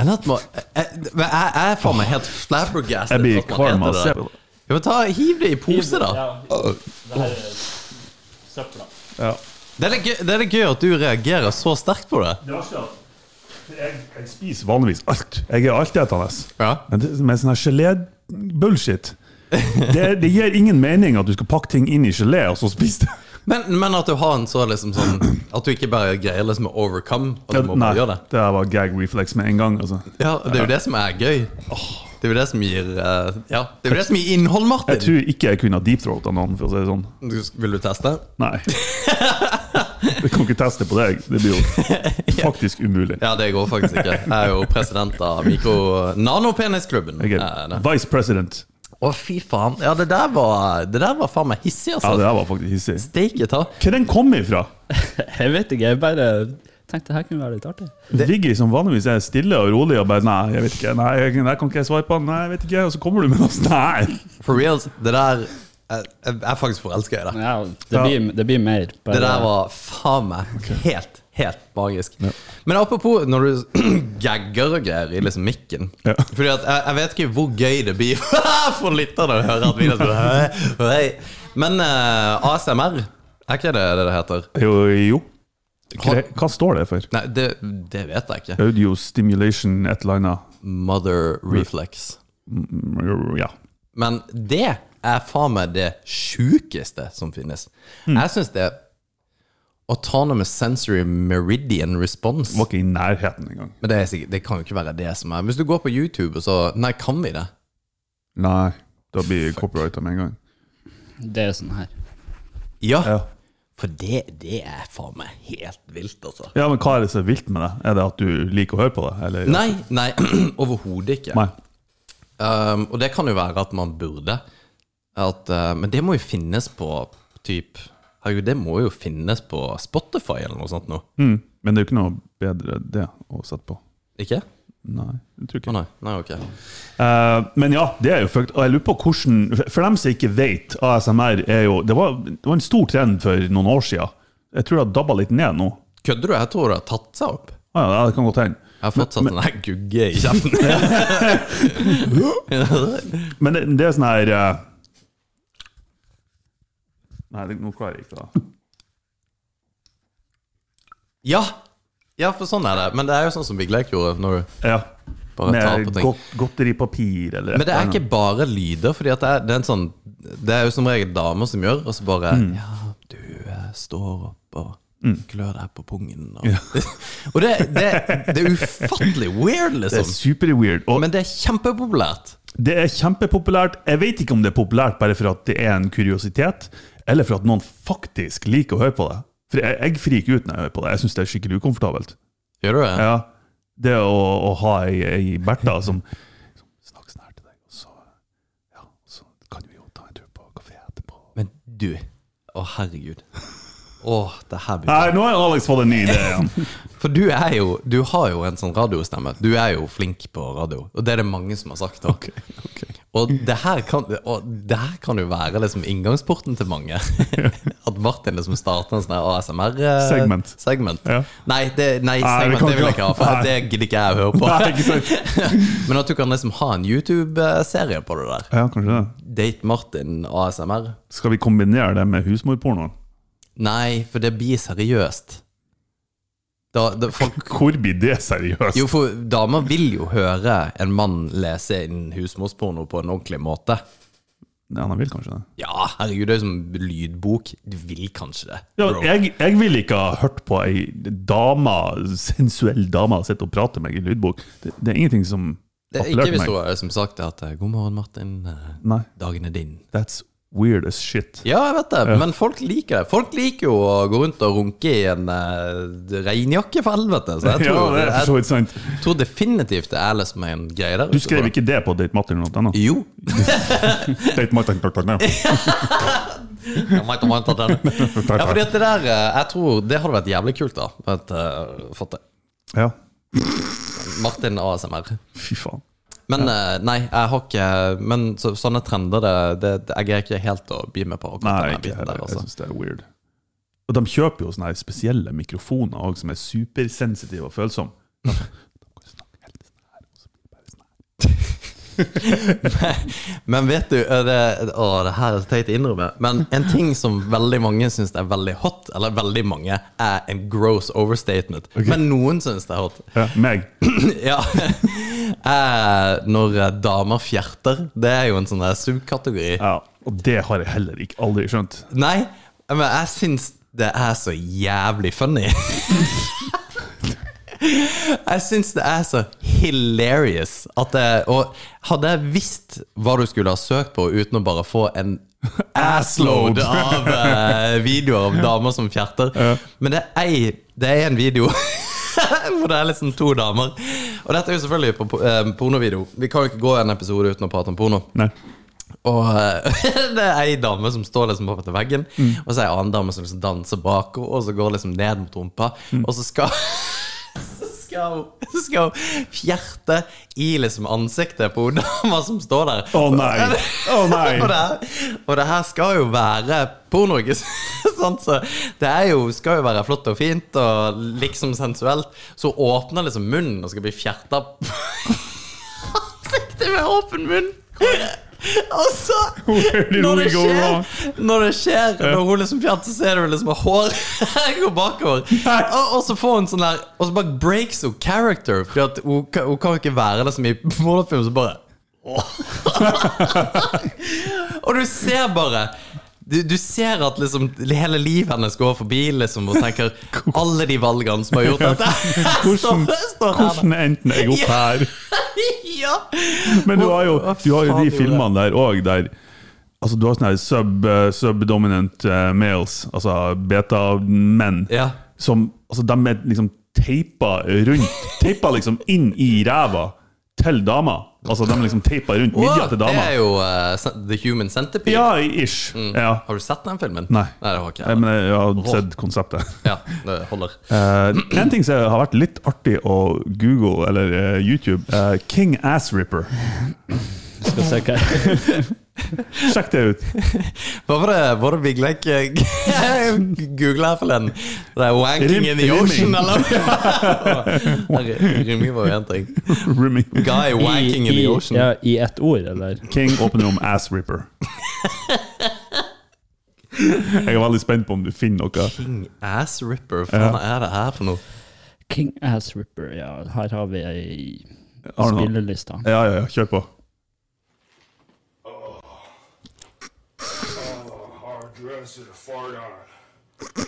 Enn at man, eh, jeg, jeg, jeg er faen meg helt flabbergasted.
Jeg blir
at man
kvalm av å
heter
se
det.
på det.
Ja, men ta, hiv det i pose, da.
Ja, det her er søpla.
Ja.
Det er litt gøy, det er litt gøy at du reagerer så sterkt på det.
Det var ikke at jeg, jeg spiser vanligvis alt. Jeg er altetende.
Ja.
Men det med sånn her gelé-bullshit det, det gir ingen mening at du skal pakke ting inn i gelé og så spise det.
Men, men at du har en så liksom sånn At du ikke bare greier liksom å overcome. At du må
Nei,
bare gjøre det.
det her var gag reflex med en gang. Altså.
Ja, Det er jo det som er gøy. Det er jo det som gir eh, Ja, det er jo det som gir innhold,
Jeg
Martin.
tror ikke jeg kunne ha deepthroata noen, for å si det sånn.
Du- Vil du teste?
Nei. Jeg kan ikke teste på deg. Det blir jo faktisk umulig.
Ja, det går faktisk ikke. Jeg er jo president av mikro nanopenisklubben.
Jeg
Eh,
er
det.
vice president.
Å, fy faen. Ja, det der var Det der var faen meg hissig,
Ja, det
altså.
her var faktisk hissig.
Steike ta.
Hvor den kom ifra?
Jeg vet ikke, jeg bare tenkte det her kunne være litt artig.
Viggy, som vanligvis er stille og rolig og bare Nei, jeg vet ikke. Nei, jeg, nei, kan ikke jeg svare på den? Nei, jeg vet ikke. Og så kommer du med noe sånt. Nei!
For reals, det der Jeg, jeg er faktisk forelska i det.
Ja, det, blir, det blir mer. bare-
Det der var faen meg helt, helt magisk. Men apropos når du gagger og greier i liksom mikken
Ja.
Fordi at jeg, jeg vet ikke hvor gøy det blir for lytterne å høre at vi liksom «Hei, hei». Men eh, ASMR, er ikke det det det heter?
Jo, jo. Hva, hva står det for?
Nei, det, det vet jeg ikke.
Audio stimulation et eller annet.
Mother reflex.
Mm, Ja.
Men det er faen meg det sjukeste som finnes. Jeg syns det er Autonomous Sensory Meridian Response.
Var ikke i nærheten engang.
Men det, er sikkert, det kan jo ikke være det som er Hvis du går på YouTube, og så Nei, kan vi det?
Nei. Da blir copyrighta med en gang.
Det er sånn her.
Ja.
Ja.
For det, det er faen meg helt vilt, altså.
ja, men hva er det som er vilt med det? Er det at du liker å høre på det? Eller?
Nei, nei, overhodet ikke.
Nei.
Um, og det kan jo være at man burde. At, uh, men det må jo finnes på typ Herregud, det må jo finnes på Spotify eller noe sånt nå.
Mm. Men det er jo ikke noe bedre det å sette på.
Ikke?
Nei, jeg tror
Å
ikke.
nei. Nei, ok.
Eh, men ja, det er jo fucked. Og jeg lurer på hvordan For dem som ikke vet, ASMR er jo Det var, det var en stor trend for noen år siden. Jeg tror det har dabba litt ned nå.
Kødder du? Jeg tror det har tatt seg opp.
Ah, ja, det kan godt hende.
Jeg har fortsatt den der gugge i kjeften.
Men det, det er sånn her eh, Nei, det, nå klarer jeg ikke det.
ja. ja, for sånn er det. Men det er jo sånn som Vigleik gjorde. når du
Ja.
Bare ta
Med
på ting.
godt, godteripapir eller et
Men det
eller
er
annet.
ikke bare lyder, fordi at det, er, det er en sånn Det er jo som regel damer som gjør, og så bare
Mm.
Ja, du eh, står opp og klør deg på pungen. Og, og det, det, det er ufattelig weird,
Det er
liksom.
superweird. Og
Men det er kjempepopulært.
det er kjempepopulært. Jeg vet ikke om det er populært bare for at det er en kuriositet, eller for at noen faktisk liker å høre på det. For jeg, jeg friker ut når jeg hører på det. Jeg syns det er skikkelig ukomfortabelt.
Gjør du det?
Ja, Det å, å ha ei, ei Bertha som, som snakker sånn her til deg, og så, ja, så kan vi jo ta en tur på kafé etterpå.
Men du Å, herregud. Å, det her blir
Nei, nå har Alex fått en ny idé igjen.
For du er jo Du har jo en sånn radiostemme. Du er jo flink på radio, og det er det mange som har sagt. da. Og, det her kan, og det her kan jo være liksom inngangsporten til mange. At Martin liksom starter en sånn
Segment.
ASMR-segment.
Ja.
Nei, det, nei,
Nei, vi
segment
kan
det vil
ikke
jeg ikke ha,
ha-
for det gidder ikke jeg å høre på.
Nei, ikke sant?
Men at du kan liksom ha en YouTube-serie på det der.
Ja, kanskje det.
Date Martin ASMR.
Skal vi kombinere det med husmorpornoen?
Nei, for det blir seriøst. Da, da, folk
Hvor blir det seriøst?
Jo, for damer vil jo høre en mann lese inn husmorsporno på en ordentlig måte.
Ja, han vil kanskje det.
Ja, herregud, det er jo som lydbok. Du vil kanskje det.
Ja,
bro.
jeg, jeg vil ikke ha hørt på ei dame, sensuell dame sitte og prate med meg i lydbok. Det, det er ingenting som
det er
appellerte
ikke hvis du har som sagt at eh, 'God morgen, Martin. eh,
Nei,
Dagen er din'.
that's weird as shit.
Ja, jeg vet det, men folk liker det. Folk liker jo å gå rundt og runke i en eh, regnjakke, for helvete. Så jeg
ja,
tror,
det er for så vidt sant.
jeg tror definitivt det er liksom en greie der.
Du skrev ikke det på datemartin.no?
Jo.
Datemartin.no.
Jeg må ikke ta den. Ja, fordi at det der eh, Jeg tror det hadde vært jævlig kult, da. At, eh, fått det.
Ja,
Martin ASMR.
fy faen.
Men eh, nei, jeg har ikke Men så, sånne trender, det, det, det Jeg greier ikke helt å bli med på akkurat
Nei,
den
ikke
biten
heller.
der.
Jeg
Altså.
syns det er weird. Og de kjøper jo sånne her spesielle mikrofoner også, som er supersensitive og følsomme. De kan snakke helt sånn her, og så blir det bare sånn her.
altså. Men vet du er det, Å, det her er så teit å innrømme. Men en ting som veldig mange syns er veldig hot, eller veldig mange, er en gross overstatement. Men noen syns det er hot.
Ja, meg.
ja. Eh, når eh, damer fjerter, det er jo en sånn der subkategori.
Ja, og det har jeg heller ikke aldri skjønt.
Nei, men jeg syns det er så jævlig funny. Jeg syns det er så hilarious at det, Og hadde jeg visst hva du skulle ha søkt på uten å bare få en assload av eh, videoer av damer som fjerter Men det er, ei, det er en video hvor det er liksom to damer. Og dette er jo selvfølgelig på po- eh, pornovideo. Vi kan jo ikke gå en episode uten å prate om porno.
Nei.
Og eh, det er ei dame som står liksom oppe til veggen,
Mm.
og så er ei annen dame som liksom danser bak henne, og så går liksom ned mot rumpa,
Mm.
og så skal så skal hun- så skal hun fjerte i liksom ansiktet på hun dama som står der.
Å nei! Å
Og,
nei!
det, her- og det her skal jo være porno, ikke sant? Så det er jo, skal jo være flott og fint og liksom sensuelt. Så åpner liksom munnen og skal bli fjerta Ansiktet med åpen munn! Og så,
Where did
når det
we go
skjer,
wrong?
når det skjer Når hun liksom fjerter, så er det liksom at håret går bakover. Og, og så får hun sånn der Og så bare breaks hun character, Fordi at hun, kan- hun kan jo ikke være liksom i pornofilm, så bare og du ser bare du, du ser at liksom hele livet hennes går forbi liksom, og tenker alle de valgene som har gjort dette.
Hvordan,
Står- står her, da.
hvordan endte jeg opp her?
ja.
Men du har jo, du har
Hva
jo
faen
de
gjorde
filmene der òg, der Altså, du har sånne her sub, eh, subdominant eh, males, altså beta-menn,
Ja.
som altså, de er liksom teipa rundt Teipa liksom inn i ræva til dama. Altså, de liksom teipa rundt midja
Wow,
til
det
dama.
er jo eh, The Human Centipede. Mm.
Ja, ish. Ja.
Har du sett den filmen?
Nei.
det har ikke
Eh,
jeg.
Men jeg har
Rå.
sett konseptet.
Ja, det holder.
Eh, en ting som har vært litt artig å google, eller eh, YouTube, eh, King Ass Ripper.
Skal se hva
Sjekk det ut.
Hva var det var det Big Lake googla her forleden? Det er 'wanking in the
Rim-
ocean',
rimming.
eller? Herre, Rimming var jo én ting.
Rimming.
Guy wanking in
I,
the
i,
ocean.
ja, I ett ord, eller?
King åpner om Ass Ripper. Jeg er veldig spent på om du finner noe.
King Ass Ripper, faen er det her for noe?
King Ass Ripper, ja. Her har vi ei
Har du noe?
spillelista.
Ja, ja, ja, kjør på.
hard dress and a fart on.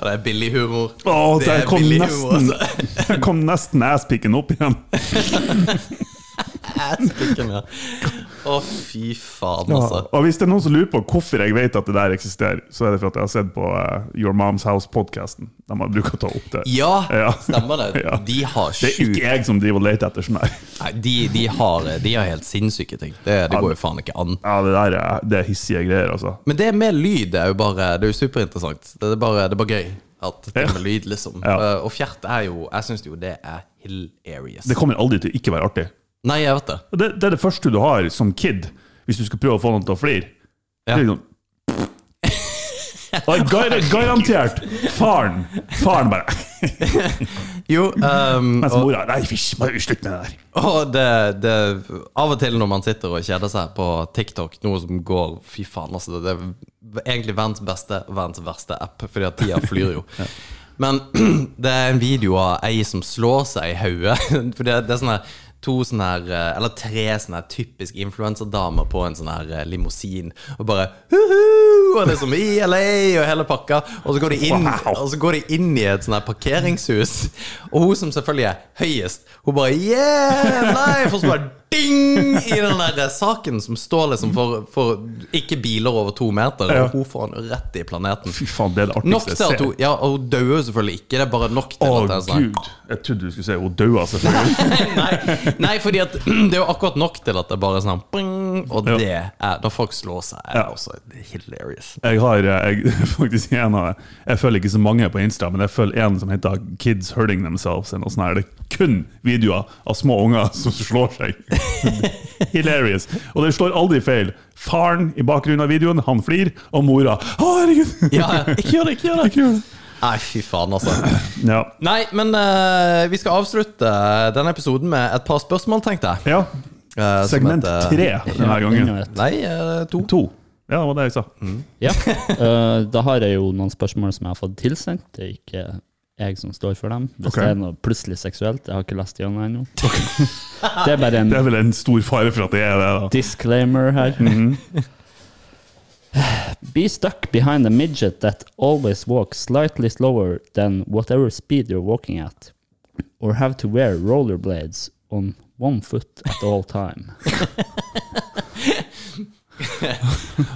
Ja, det er billig humor.
Å,
Det
der
er
kom
billig humor, altså.
nesten, der kom nesten asspicken opp igjen.
Ass-pikken, ja. Å, fy faen, altså.
Og hvis det er noen som lurer på hvorfor jeg vet at det der eksisterer, så er det for at jeg har sett på eh, Your Mom's House-podkasten. De har brukt å ta opp det.
Ja,
Ja.
stemmer det.
Ja.
De har
Det er
sjukt
ikke jeg som driver og leter etter sånn her.
Nei, de, de, har, eh, de har helt sinnssyke ting. Det, det går jo faen ikke an.
Ja, det der er, det er hissige greier, altså.
Men det med lyd er jo bare Det er jo superinteressant. Det er bare, det er bare gøy. At det
Ja.
med lyd, liksom.
Ja.
Eh, Og fjert er jo Jeg syns jo det er hilarious.
Det kommer aldri til å ikke være artig.
Nei, jeg vet det.
Og Det, det er det første du har som kid, hvis du skal prøve å få noen til å flire.
Ja.
Det er liksom- Og gar- Garantert! Faren Faren bare
Jo, ehm,
Mens
og-
mora Nei, fysj, bare slutt med det der.
Og det, det Av og til når man sitter og kjeder seg på TikTok, noe som går Fy faen, altså. Det er egentlig verdens beste, verdens verste app, fordi at tida flyr jo. Men det er en video av ei som slår seg i hodet. For det, det er sånne her- to sånne her eh, Eller tre sånne her typisk influenserdamer på en sånn her eh, limousin, og bare «Huhu!» og liksom i LA og hele pakka. Og så går de inn,
Wow.
og så går de inn i et sånn her parkeringshus, og hun som selvfølgelig er høyest, hun bare Yeah! Life! Og så bare ding! I den der saken som står liksom for, for ikke biler over to meter,
Ja.
og hun får han rett i planeten.
Fy faen, det er det
Nok
artigste
til at hun Ja, og hun dør jo selvfølgelig ikke, det er bare nok til
Å,
at det er sånn.
gud. Jeg trodde du skulle si hun altså. daua, selvfølgelig.
Nei, nei, fordi at det er jo akkurat nok til at det bare er sånn pling, Og
Ja.
det er Når folk slår seg, er det
Ja.
også hilarious. stories.
Jeg har eh, jeg, faktisk en av Jeg følger ikke så mange på Insta, men jeg følger en som heter Kids Hurting Themselves. eller noe sånt her. Det er kun videoer av små unger som slår seg. Hilarious. Og det slår aldri feil. Faren i bakgrunnen av videoen, han flir, og mora Å, herregud!
Ja, ja. ikke gjør det, ikke gjør det!
Ikke gjør det.
Nei, fy faen, altså.
Ja.
Nei, men eh, vi skal avslutte denne episoden med et par spørsmål, tenkte jeg.
ja.
Eh, som
Segment
heter-
tre denne gangen.
Enda et.
Nei, eh, to.
To. Ja, det var det jeg sa.
Mm.
Ja. Eh, da har jeg jo noen spørsmål som jeg har fått tilsendt. Det er ikke jeg som står for dem. Hvis
Ok.
det er noe plutselig seksuelt, jeg har ikke lest gjennom ennå. Det er bare en
Det er vel en stor fare for at det er det, da.
disclaimer her.
Mhm.
Be stuck behind a midget that always walks slightly slower than whatever speed you're walking at, or have to wear rollerblades on one foot at all time.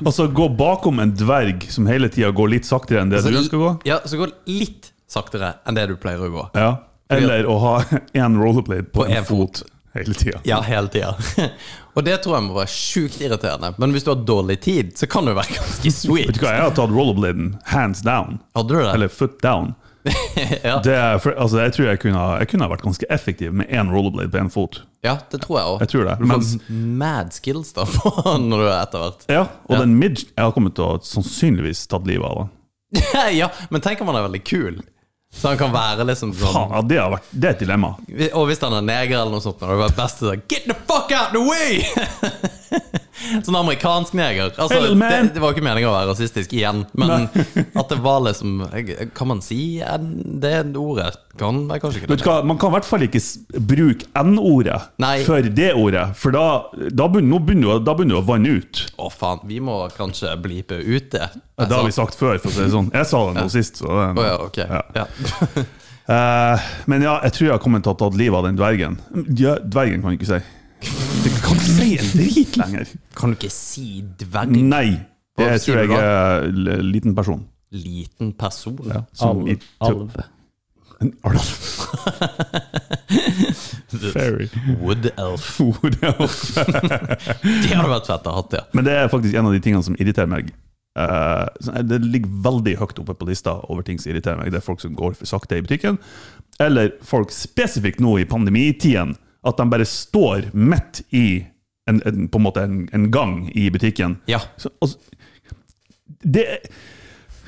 Altså, gå bakom en dverg som hele tida går litt saktere enn
Altså,
det du ønsker å gå.
Ja, så går det litt saktere enn det du pleier å gå.
Ja. Eller å ha én rollerblade på,
På
en
en
fot, hele tida.
Ja, hele tida. Og det tror jeg må være sjukt irriterende. Men hvis du har dårlig tid, så kan det jo være ganske
Vet
sweet.
du hva, jeg har tatt rollerbladen hands down.
Hadde du det?
Eller foot down.
ja.
Det er, for, altså, jeg tror jeg kunne, ha- jeg kunne ha vært ganske effektiv med én rollerblade på én fot.
ja, det tror jeg òg.
Jeg tror det.
Du
Men,
får mad skills da på når du er etter hvert.
ja, og
Ja.
den midge Jeg har kommet til å sannsynligvis tatt livet av den.
ja, men tenk om han er veldig kul. Så han kan være liksom
Faen,
sånn
ja, det, har vært, det er et dilemma.
Og hvis han er neger eller noe sånt, da er det bare best å si 'Get the fuck out the way!' sånn amerikansk neger. Altså,
Hey, little man.
det, det var ikke meningen å være rasistisk igjen, men at det var liksom Kan man si en- det ordet? Kan jeg kanskje ikke
Vet
det?
du hva, Man kan i hvert fall ikke s- bruke N-ordet
Nei.
for det ordet, for da, da, begynner, nå begynner, du å- da begynner du å vanne ut.
Å, faen. Vi må kanskje blipe ut det.
Det har vi sagt før, for å si det sånn. Jeg sa det nå sist. Så det,
Å ja, ok. Ja.
Eh, men ja, jeg tror jeg kommer til å ha tatt livet av den dvergen. Ja, dvergen kan jeg ikke si. Du kan ikke si en drit lenger!
Kan du ikke si dverg?
Nei. Det
Hva sier
tror
du
jeg er l- liten person.
Liten person?
Som i-
Alv.
En alv. Fairy.
Wood elf.
Wood elf.
Det hadde vært fett å ha hatt, ja.
Men det er faktisk en av de tingene som irriterer meg. Eh, så det ligger veldig høyt oppe på lista over ting som irriterer meg. Det er folk som går for sakte i butikken, eller folk spesifikt nå i pandemitiden, at de bare står midt i en, en, på en måte en, en gang i butikken.
Ja.
Så, altså, det,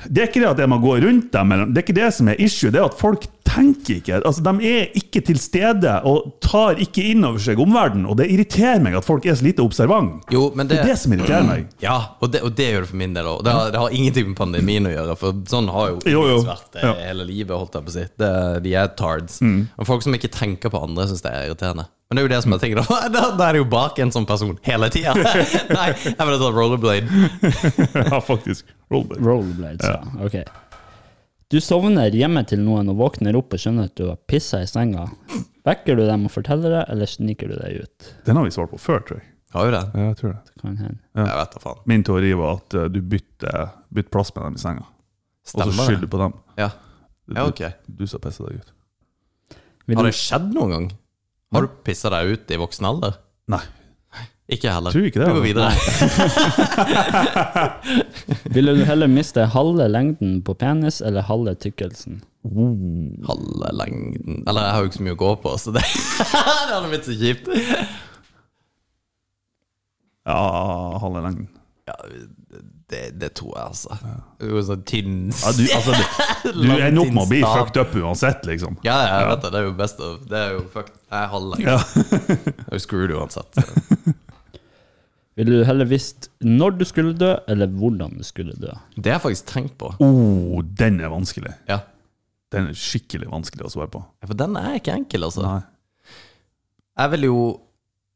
det er ikke det at jeg må gå rundt dem, eller- det er ikke det som er issue, det er at folk tenker ikke. Altså, de er ikke til stede og tar ikke inn over seg omverdenen, og det irriterer meg at folk er så lite observant.
Jo, men
Det er det som irriterer meg.
Ja, og det, og det gjør det for min del òg. Det, har- det har ingenting med pandemien å gjøre, for sånn har jo,
Jo, jo.
vært det
Ja. Mm.
hele livet. holdt jeg på å si det, De er tards. Og folk som ikke tenker på andre, syns det er irriterende. Men det er jo det som jeg tenker da, da, da er det jo bak en sånn person hele tida! Nei, jeg ville tatt rollerblade.
Ja, faktisk. Rollback.
Rollerblades, ja. Ok. Du sovner hjemme til noen og våkner opp og skjønner at du har pissa i senga. Vekker du dem og forteller det, eller sniker du deg ut?
Den har vi svart på før, tror jeg.
Har jo det.
Ja, jeg tror det.
Kan hende.
Jeg vet da faen.
Min teori var at eh, du bytter, bytter plass med dem i senga, og så
Stemmer det?
skylder du på dem.
Ja.
Du,
ja, ok.
du, du sa pisse deg ut.
Vil
Har
du,
det skjedd noen gang? Har du pissa deg ut i voksen alder?
Nei,
Ikke heller.
Tror ikke det,
Vi går
altså.
videre.
vil du heller miste halve lengden på penis eller halve tykkelsen?
halve lengden Eller jeg har jo ikke så mye å gå på, så det, det hadde blitt så kjipt.
ja, halve lengden.
Ja, det, det tror jeg, altså. Det er jo sånn tynn
Ja, du, altså, du, du ender opp med å bli
Langtidsstav.
fucked up uansett, liksom.
Ja, ja, jeg vet det. Det er jo best å Det er jo fuck Jeg er halv lengde.
Ja.
Jeg er jo screwed uansett.
Vil du heller visst når du skulle dø, eller hvordan du skulle dø?
Det har jeg faktisk tenkt på.
Oh, den er vanskelig.
Ja.
Den er skikkelig vanskelig å svare på.
For den er ikke enkel, altså.
Nei.
Jeg vil jo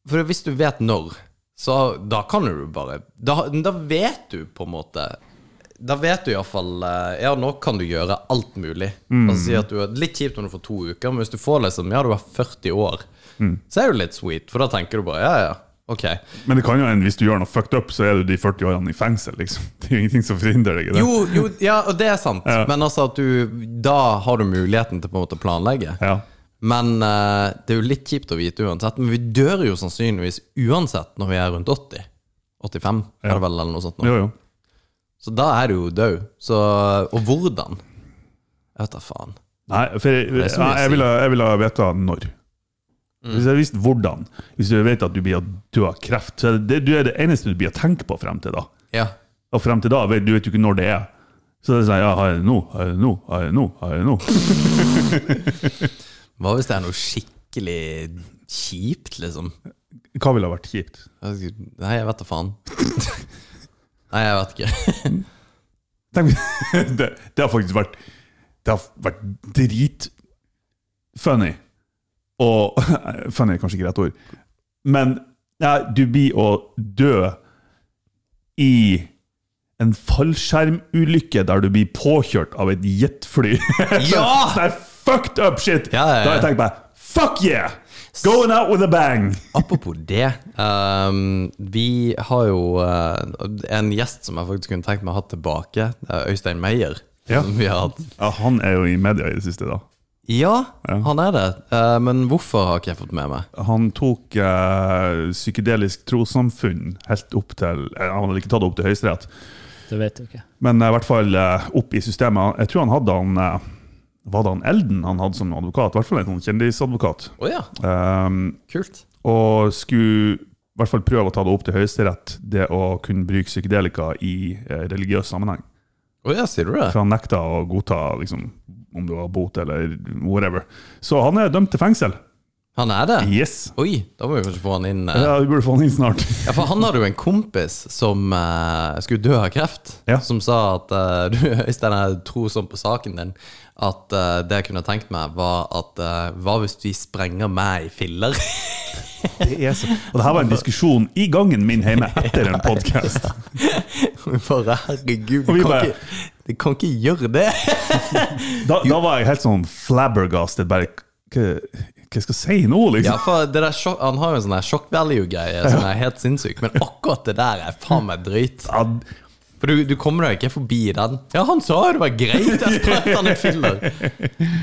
For hvis du vet når, så da kan du bare Da, da vet du på en måte Da vet du iallfall eh, Ja, nå kan du gjøre alt mulig. Altså si at du er Litt kjipt om du får to uker, men hvis du får liksom Ja, du er 40 år, så er det jo litt sweet, for da tenker du bare Ja, ja, ok.
Men det kan jo hende hvis du gjør noe fucked up, så er du de 40 årene i fengsel, liksom. Det er jo ingenting som forhindrer deg i det.
Jo, jo, ja, og det er sant,
Ja.
men altså at du Da har du muligheten til på en måte å planlegge.
Ja.
Men eh, det er jo litt kjipt å vite uansett. Men vi dør jo sannsynligvis uansett når vi er rundt 80. 85 er det vel, eller noe sånt. Nå.
Jo, jo.
Så da er du jo død. Så Og hvordan? Jeg vet da faen.
Nei, for jeg,
er
jeg,
så mye å si.
jeg ville jeg ville vite når. Hvis jeg visste hvordan Hvis du vet at du, blir, du har kreft, så er det, du er det eneste du blir å tenke på frem til da.
Ja.
Og frem til da vet du vet jo ikke når det er. Så det er sånn, ja, har jeg det nå? Har jeg det nå? Har jeg det nå? Har jeg det nå?
Hva hvis det er noe skikkelig kjipt, liksom?
Hva ville ha vært kjipt?
Nei, jeg vet da faen. Nei, jeg vet ikke.
Tenk, det, det har faktisk vært Det har vært dritfunny. Og Funny er kanskje ikke rett ord. Men ja, du blir å dø i en fallskjermulykke der du blir påkjørt av et jetfly.
Ja!
Sånn her fucked up shit!
Ja, ja, ja.
Da har jeg tenkt bare Fuck yeah! Going out with a bang!
Apropos det. ehm, vi har jo eh, en gjest som jeg faktisk kunne tenkt meg å ha tilbake. Det er Øystein Meyer.
Ja.
Som vi har hatt.
Ja, han er jo i media i det siste, da.
ja, han er det. Eh, men hvorfor har ikke jeg fått med meg?
Han tok eh, psykedelisk trossamfunn helt opp til eh, Han hadde ikke tatt det opp til Høyesterett,
Det vet jeg ikke.
men eh, i hvert fall eh, opp i systemet. Jeg tror han hadde han eh, Var det han Elden han hadde som advokat? I hvert fall en sånn kjendisadvokat.
Å ja,
Um,
kult.
og skulle i hvert fall prøve å ta det opp til Høyesterett, det å kunne bruke psykedelika i eh, religiøs sammenheng.
Å ja, sier du det?
For han nekta å godta liksom, om det var bot eller whatever. Så han er dømt til fengsel.
Han er det?
Yes!
Oi, da må vi kanskje få han inn. eh.
Ja, vi burde få han inn snart.
Ja, for han hadde jo en kompis som eh, skulle dø av kreft,
Ja.
som sa at eh, du, Øystein, jeg tror sånn på saken din at eh, det jeg kunne tenkt meg, var at eh, hva hvis vi sprenger meg i filler?
Det er så. Og det her var en diskusjon i gangen min hjemme etter en podkast.
Og Bare herregud,
Og vi
du kan,
bare-
ikke, du kan ikke gjøre det!
Da, da var jeg helt sånn flabbergasted. Bare hva, hva skal jeg si nå,
Ja,
liksom?
for det der sjokk, Han har jo en sånn der shock value-greie som er helt sinnssyk, men akkurat det der er faen meg drøyt.
Ja,
For du, du kommer deg ikke forbi den. Ja, han sa jo det var greit! Jeg sprøyta han i filler!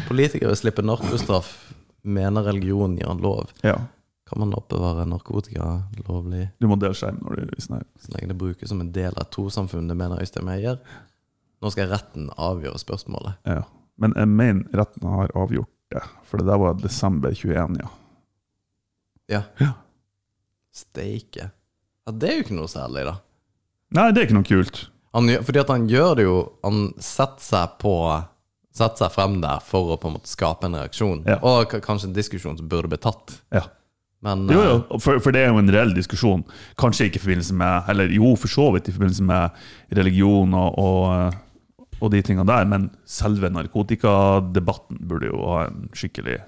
Politikere slipper narkostraff, mener religionen gir han lov.
ja.
Kan man oppbevare narkotika lovlig
Du må dele skjerm når du sånn her.
så lenge det brukes som en del av trossamfunnet, mener Øystein Meyer? Nå skal retten avgjøre spørsmålet.
Ja. Men jeg mener retten har avgjort det, for det der var desember 21, ja.
Ja.
Ja.
Steike. Ja, det er jo ikke noe særlig, da.
Nei, det er ikke noe kult.
Han, gjør- fordi at han gjør det jo Han setter seg på Setter seg frem der for å på en måte skape en reaksjon.
Ja.
Og k- kanskje en diskusjon som burde bli tatt.
Ja.
Men
Jo,
eh,
jo, for, for det er jo en reell diskusjon. Kanskje ikke i forbindelse med Eller jo, for så vidt i forbindelse med religion og, og, og de tingene der, men selve narkotikadebatten burde jo ha en skikkelig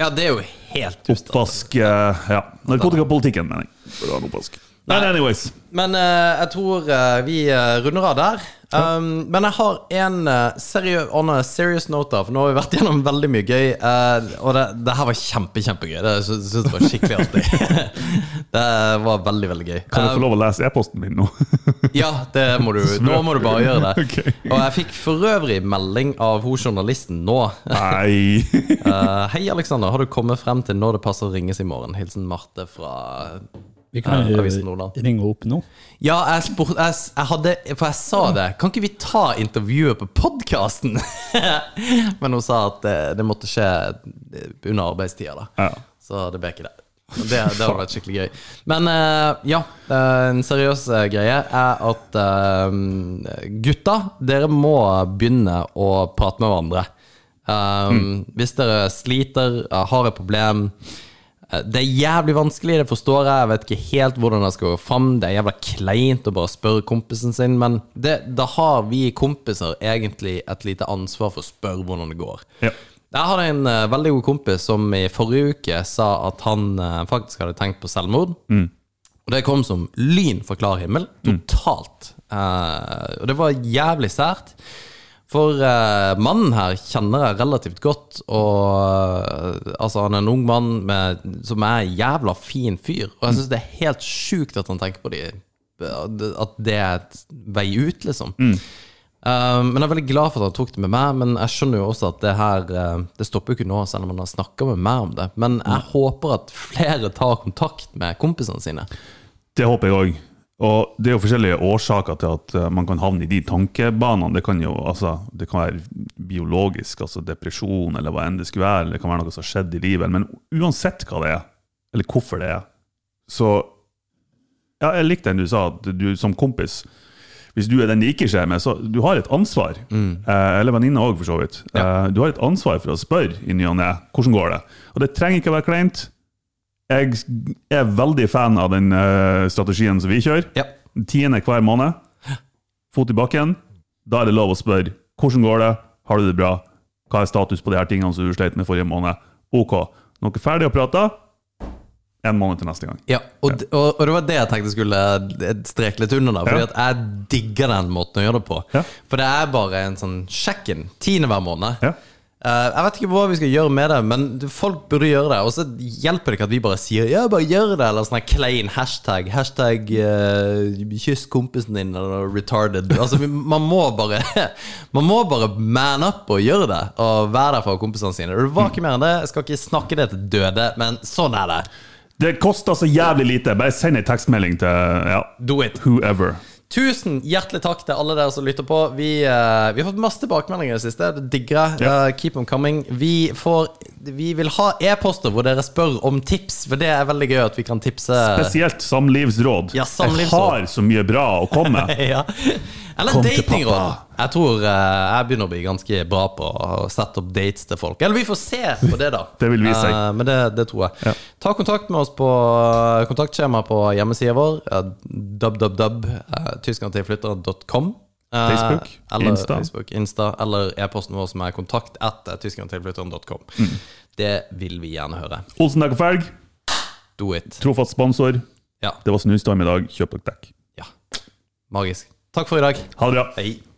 ja, det er jo helt ustandard.
Oppvask eh, Ja. Narkotikapolitikken, mener jeg. Burde ha en oppvask. Men anyways.
Men eh, jeg tror eh, vi eh, runder av der. Um, men jeg har en eh, seriø on a serious note, da, for nå har vi vært gjennom veldig mye gøy. eh, og det, det her var kjempe, kjempegøy. Det sy- syns jeg var skikkelig artig. det var veldig, veldig gøy.
Kan jeg
Um,
få lov å lese e-posten min nå?
ja, det må du. Nå må du bare gjøre det.
Ok.
Og jeg fikk for øvrig melding av hun journalisten nå.
Nei
Eh, hei, Alexander. Har du kommet frem til når det passer å ringes i morgen? Hilsen Marte fra
Vi kan
Ja,
jo
avisen Nordland.
ringe opp nå.
Ja, jeg spurte jeg, s- jeg hadde, For jeg sa det. Kan ikke vi ta intervjuet på podkasten? Men hun sa at det, det måtte skje eh, under arbeidstida, da.
Ja.
Så det ble ikke det. Og Det, det hadde vært skikkelig gøy. Men eh, ja, eh, en seriøs eh, greie er at eh, gutta, dere må begynne å prate med hverandre. Um, Hvis dere sliter, eh, har et problem eh, Det er jævlig vanskelig, det forstår jeg. Jeg vet ikke helt hvordan jeg skal gå fram. Det er jævla kleint å bare spørre kompisen sin, men det, da har vi kompiser egentlig et lite ansvar for å spørre hvordan det går.
Ja.
Jeg hadde en eh, veldig god kompis som i forrige uke sa at han eh, faktisk hadde tenkt på selvmord. Og det kom som lyn fra klar himmel. Totalt. Eh, og det var jævlig sært. For eh, mannen her kjenner jeg relativt godt, og eh, altså, han er en ung mann med, som er en jævla fin fyr. Og jeg syns det er helt sjukt at han tenker på de, at det er et vei ut, liksom. Um, men jeg er veldig glad for at han tok det med meg, men jeg skjønner jo også at det her eh, Det stopper jo ikke nå, selv om han har snakka med meg om det. Men jeg håper at flere tar kontakt med kompisene sine.
Det håper jeg òg. Og det er jo forskjellige årsaker til at eh, man kan havne i de tankebanene. Det kan jo altså, det kan være biologisk, altså depresjon, eller hva enn det skulle være. eller Det kan være noe som har skjedd i livet. Men uansett hva det er, eller hvorfor det er, så ja, Jeg likte den du sa, at du som kompis hvis du er den det ikke skjer med, så du har et ansvar. Eh, eller venninne òg, for så vidt. Eh, du har et ansvar for å spørre i ny og ne hvordan går det Og det trenger ikke å være kleint. Jeg er veldig fan av den eh, strategien som vi kjører.
Ja.
Tiende hver måned. Fot i bakken. Da er det lov å spørre hvordan går det, har du det bra, hva er status på de her tingene som du sleit med forrige måned. Ok. Når dere er ferdig å prate, en måned til neste gang.
Ja, og, d- og, og det var det jeg tenkte skulle streke litt under. da Fordi
Ja.
at jeg digger den måten å gjøre det på.
Ja.
For det er bare en sånn sjekk-in. Tiende hver måned.
Ja.
Eh, jeg vet ikke hva vi skal gjøre med det, men folk burde gjøre det. Og så hjelper det ikke at vi bare sier 'ja, bare gjør det', eller sånn her klein hashtag. Hashtag eh, 'kyss kompisen din' eller 'retarded'. Altså, vi, man må bare Man må bare man up og gjøre det, og være der for kompisene sine. Det var
Mm.
ikke mer enn det. Jeg skal ikke snakke det til døde, men sånn er det.
Det koster så jævlig lite. Bare send en tekstmelding til ja,
Do it.
whoever.
Tusen hjertelig takk til alle dere som lytter på. Vi, eh, vi har fått masse tilbakemeldinger i det siste. Det digger jeg.
Ja.
Eh, keep on coming. Vi, får, vi vil ha e-poster hvor dere spør om tips, for det er veldig gøy at vi kan tipse.
Spesielt samlivsråd.
Eh. Ja,
Jeg
samlivsråd.
har så mye bra å komme med.
ja. Eller
Kom til
datingråd.
pappa.
Jeg tror eh, jeg begynner å bli ganske bra på å sette opp dates til folk. Eller vi får se på det, da.
Det vil vise seg.
Eh, men det, det tror jeg.
Ja.
Ta kontakt med oss på eh, kontaktskjema på hjemmesida vår. eh, www.tyskerntilflytter.com eh,
Facebook,
eller
Insta.
Facebook, Insta eller e-posten vår som er kontakt etter tyskerntilflytteren.com.
Mm.
Det vil vi gjerne høre.
Olsen Dekk og Felg,
Do it.
trofast sponsor.
Ja.
Det var snustorm i dag. Kjøp dere dekk.
ja. Magisk. Takk for i dag.
Ha det bra.
Hei.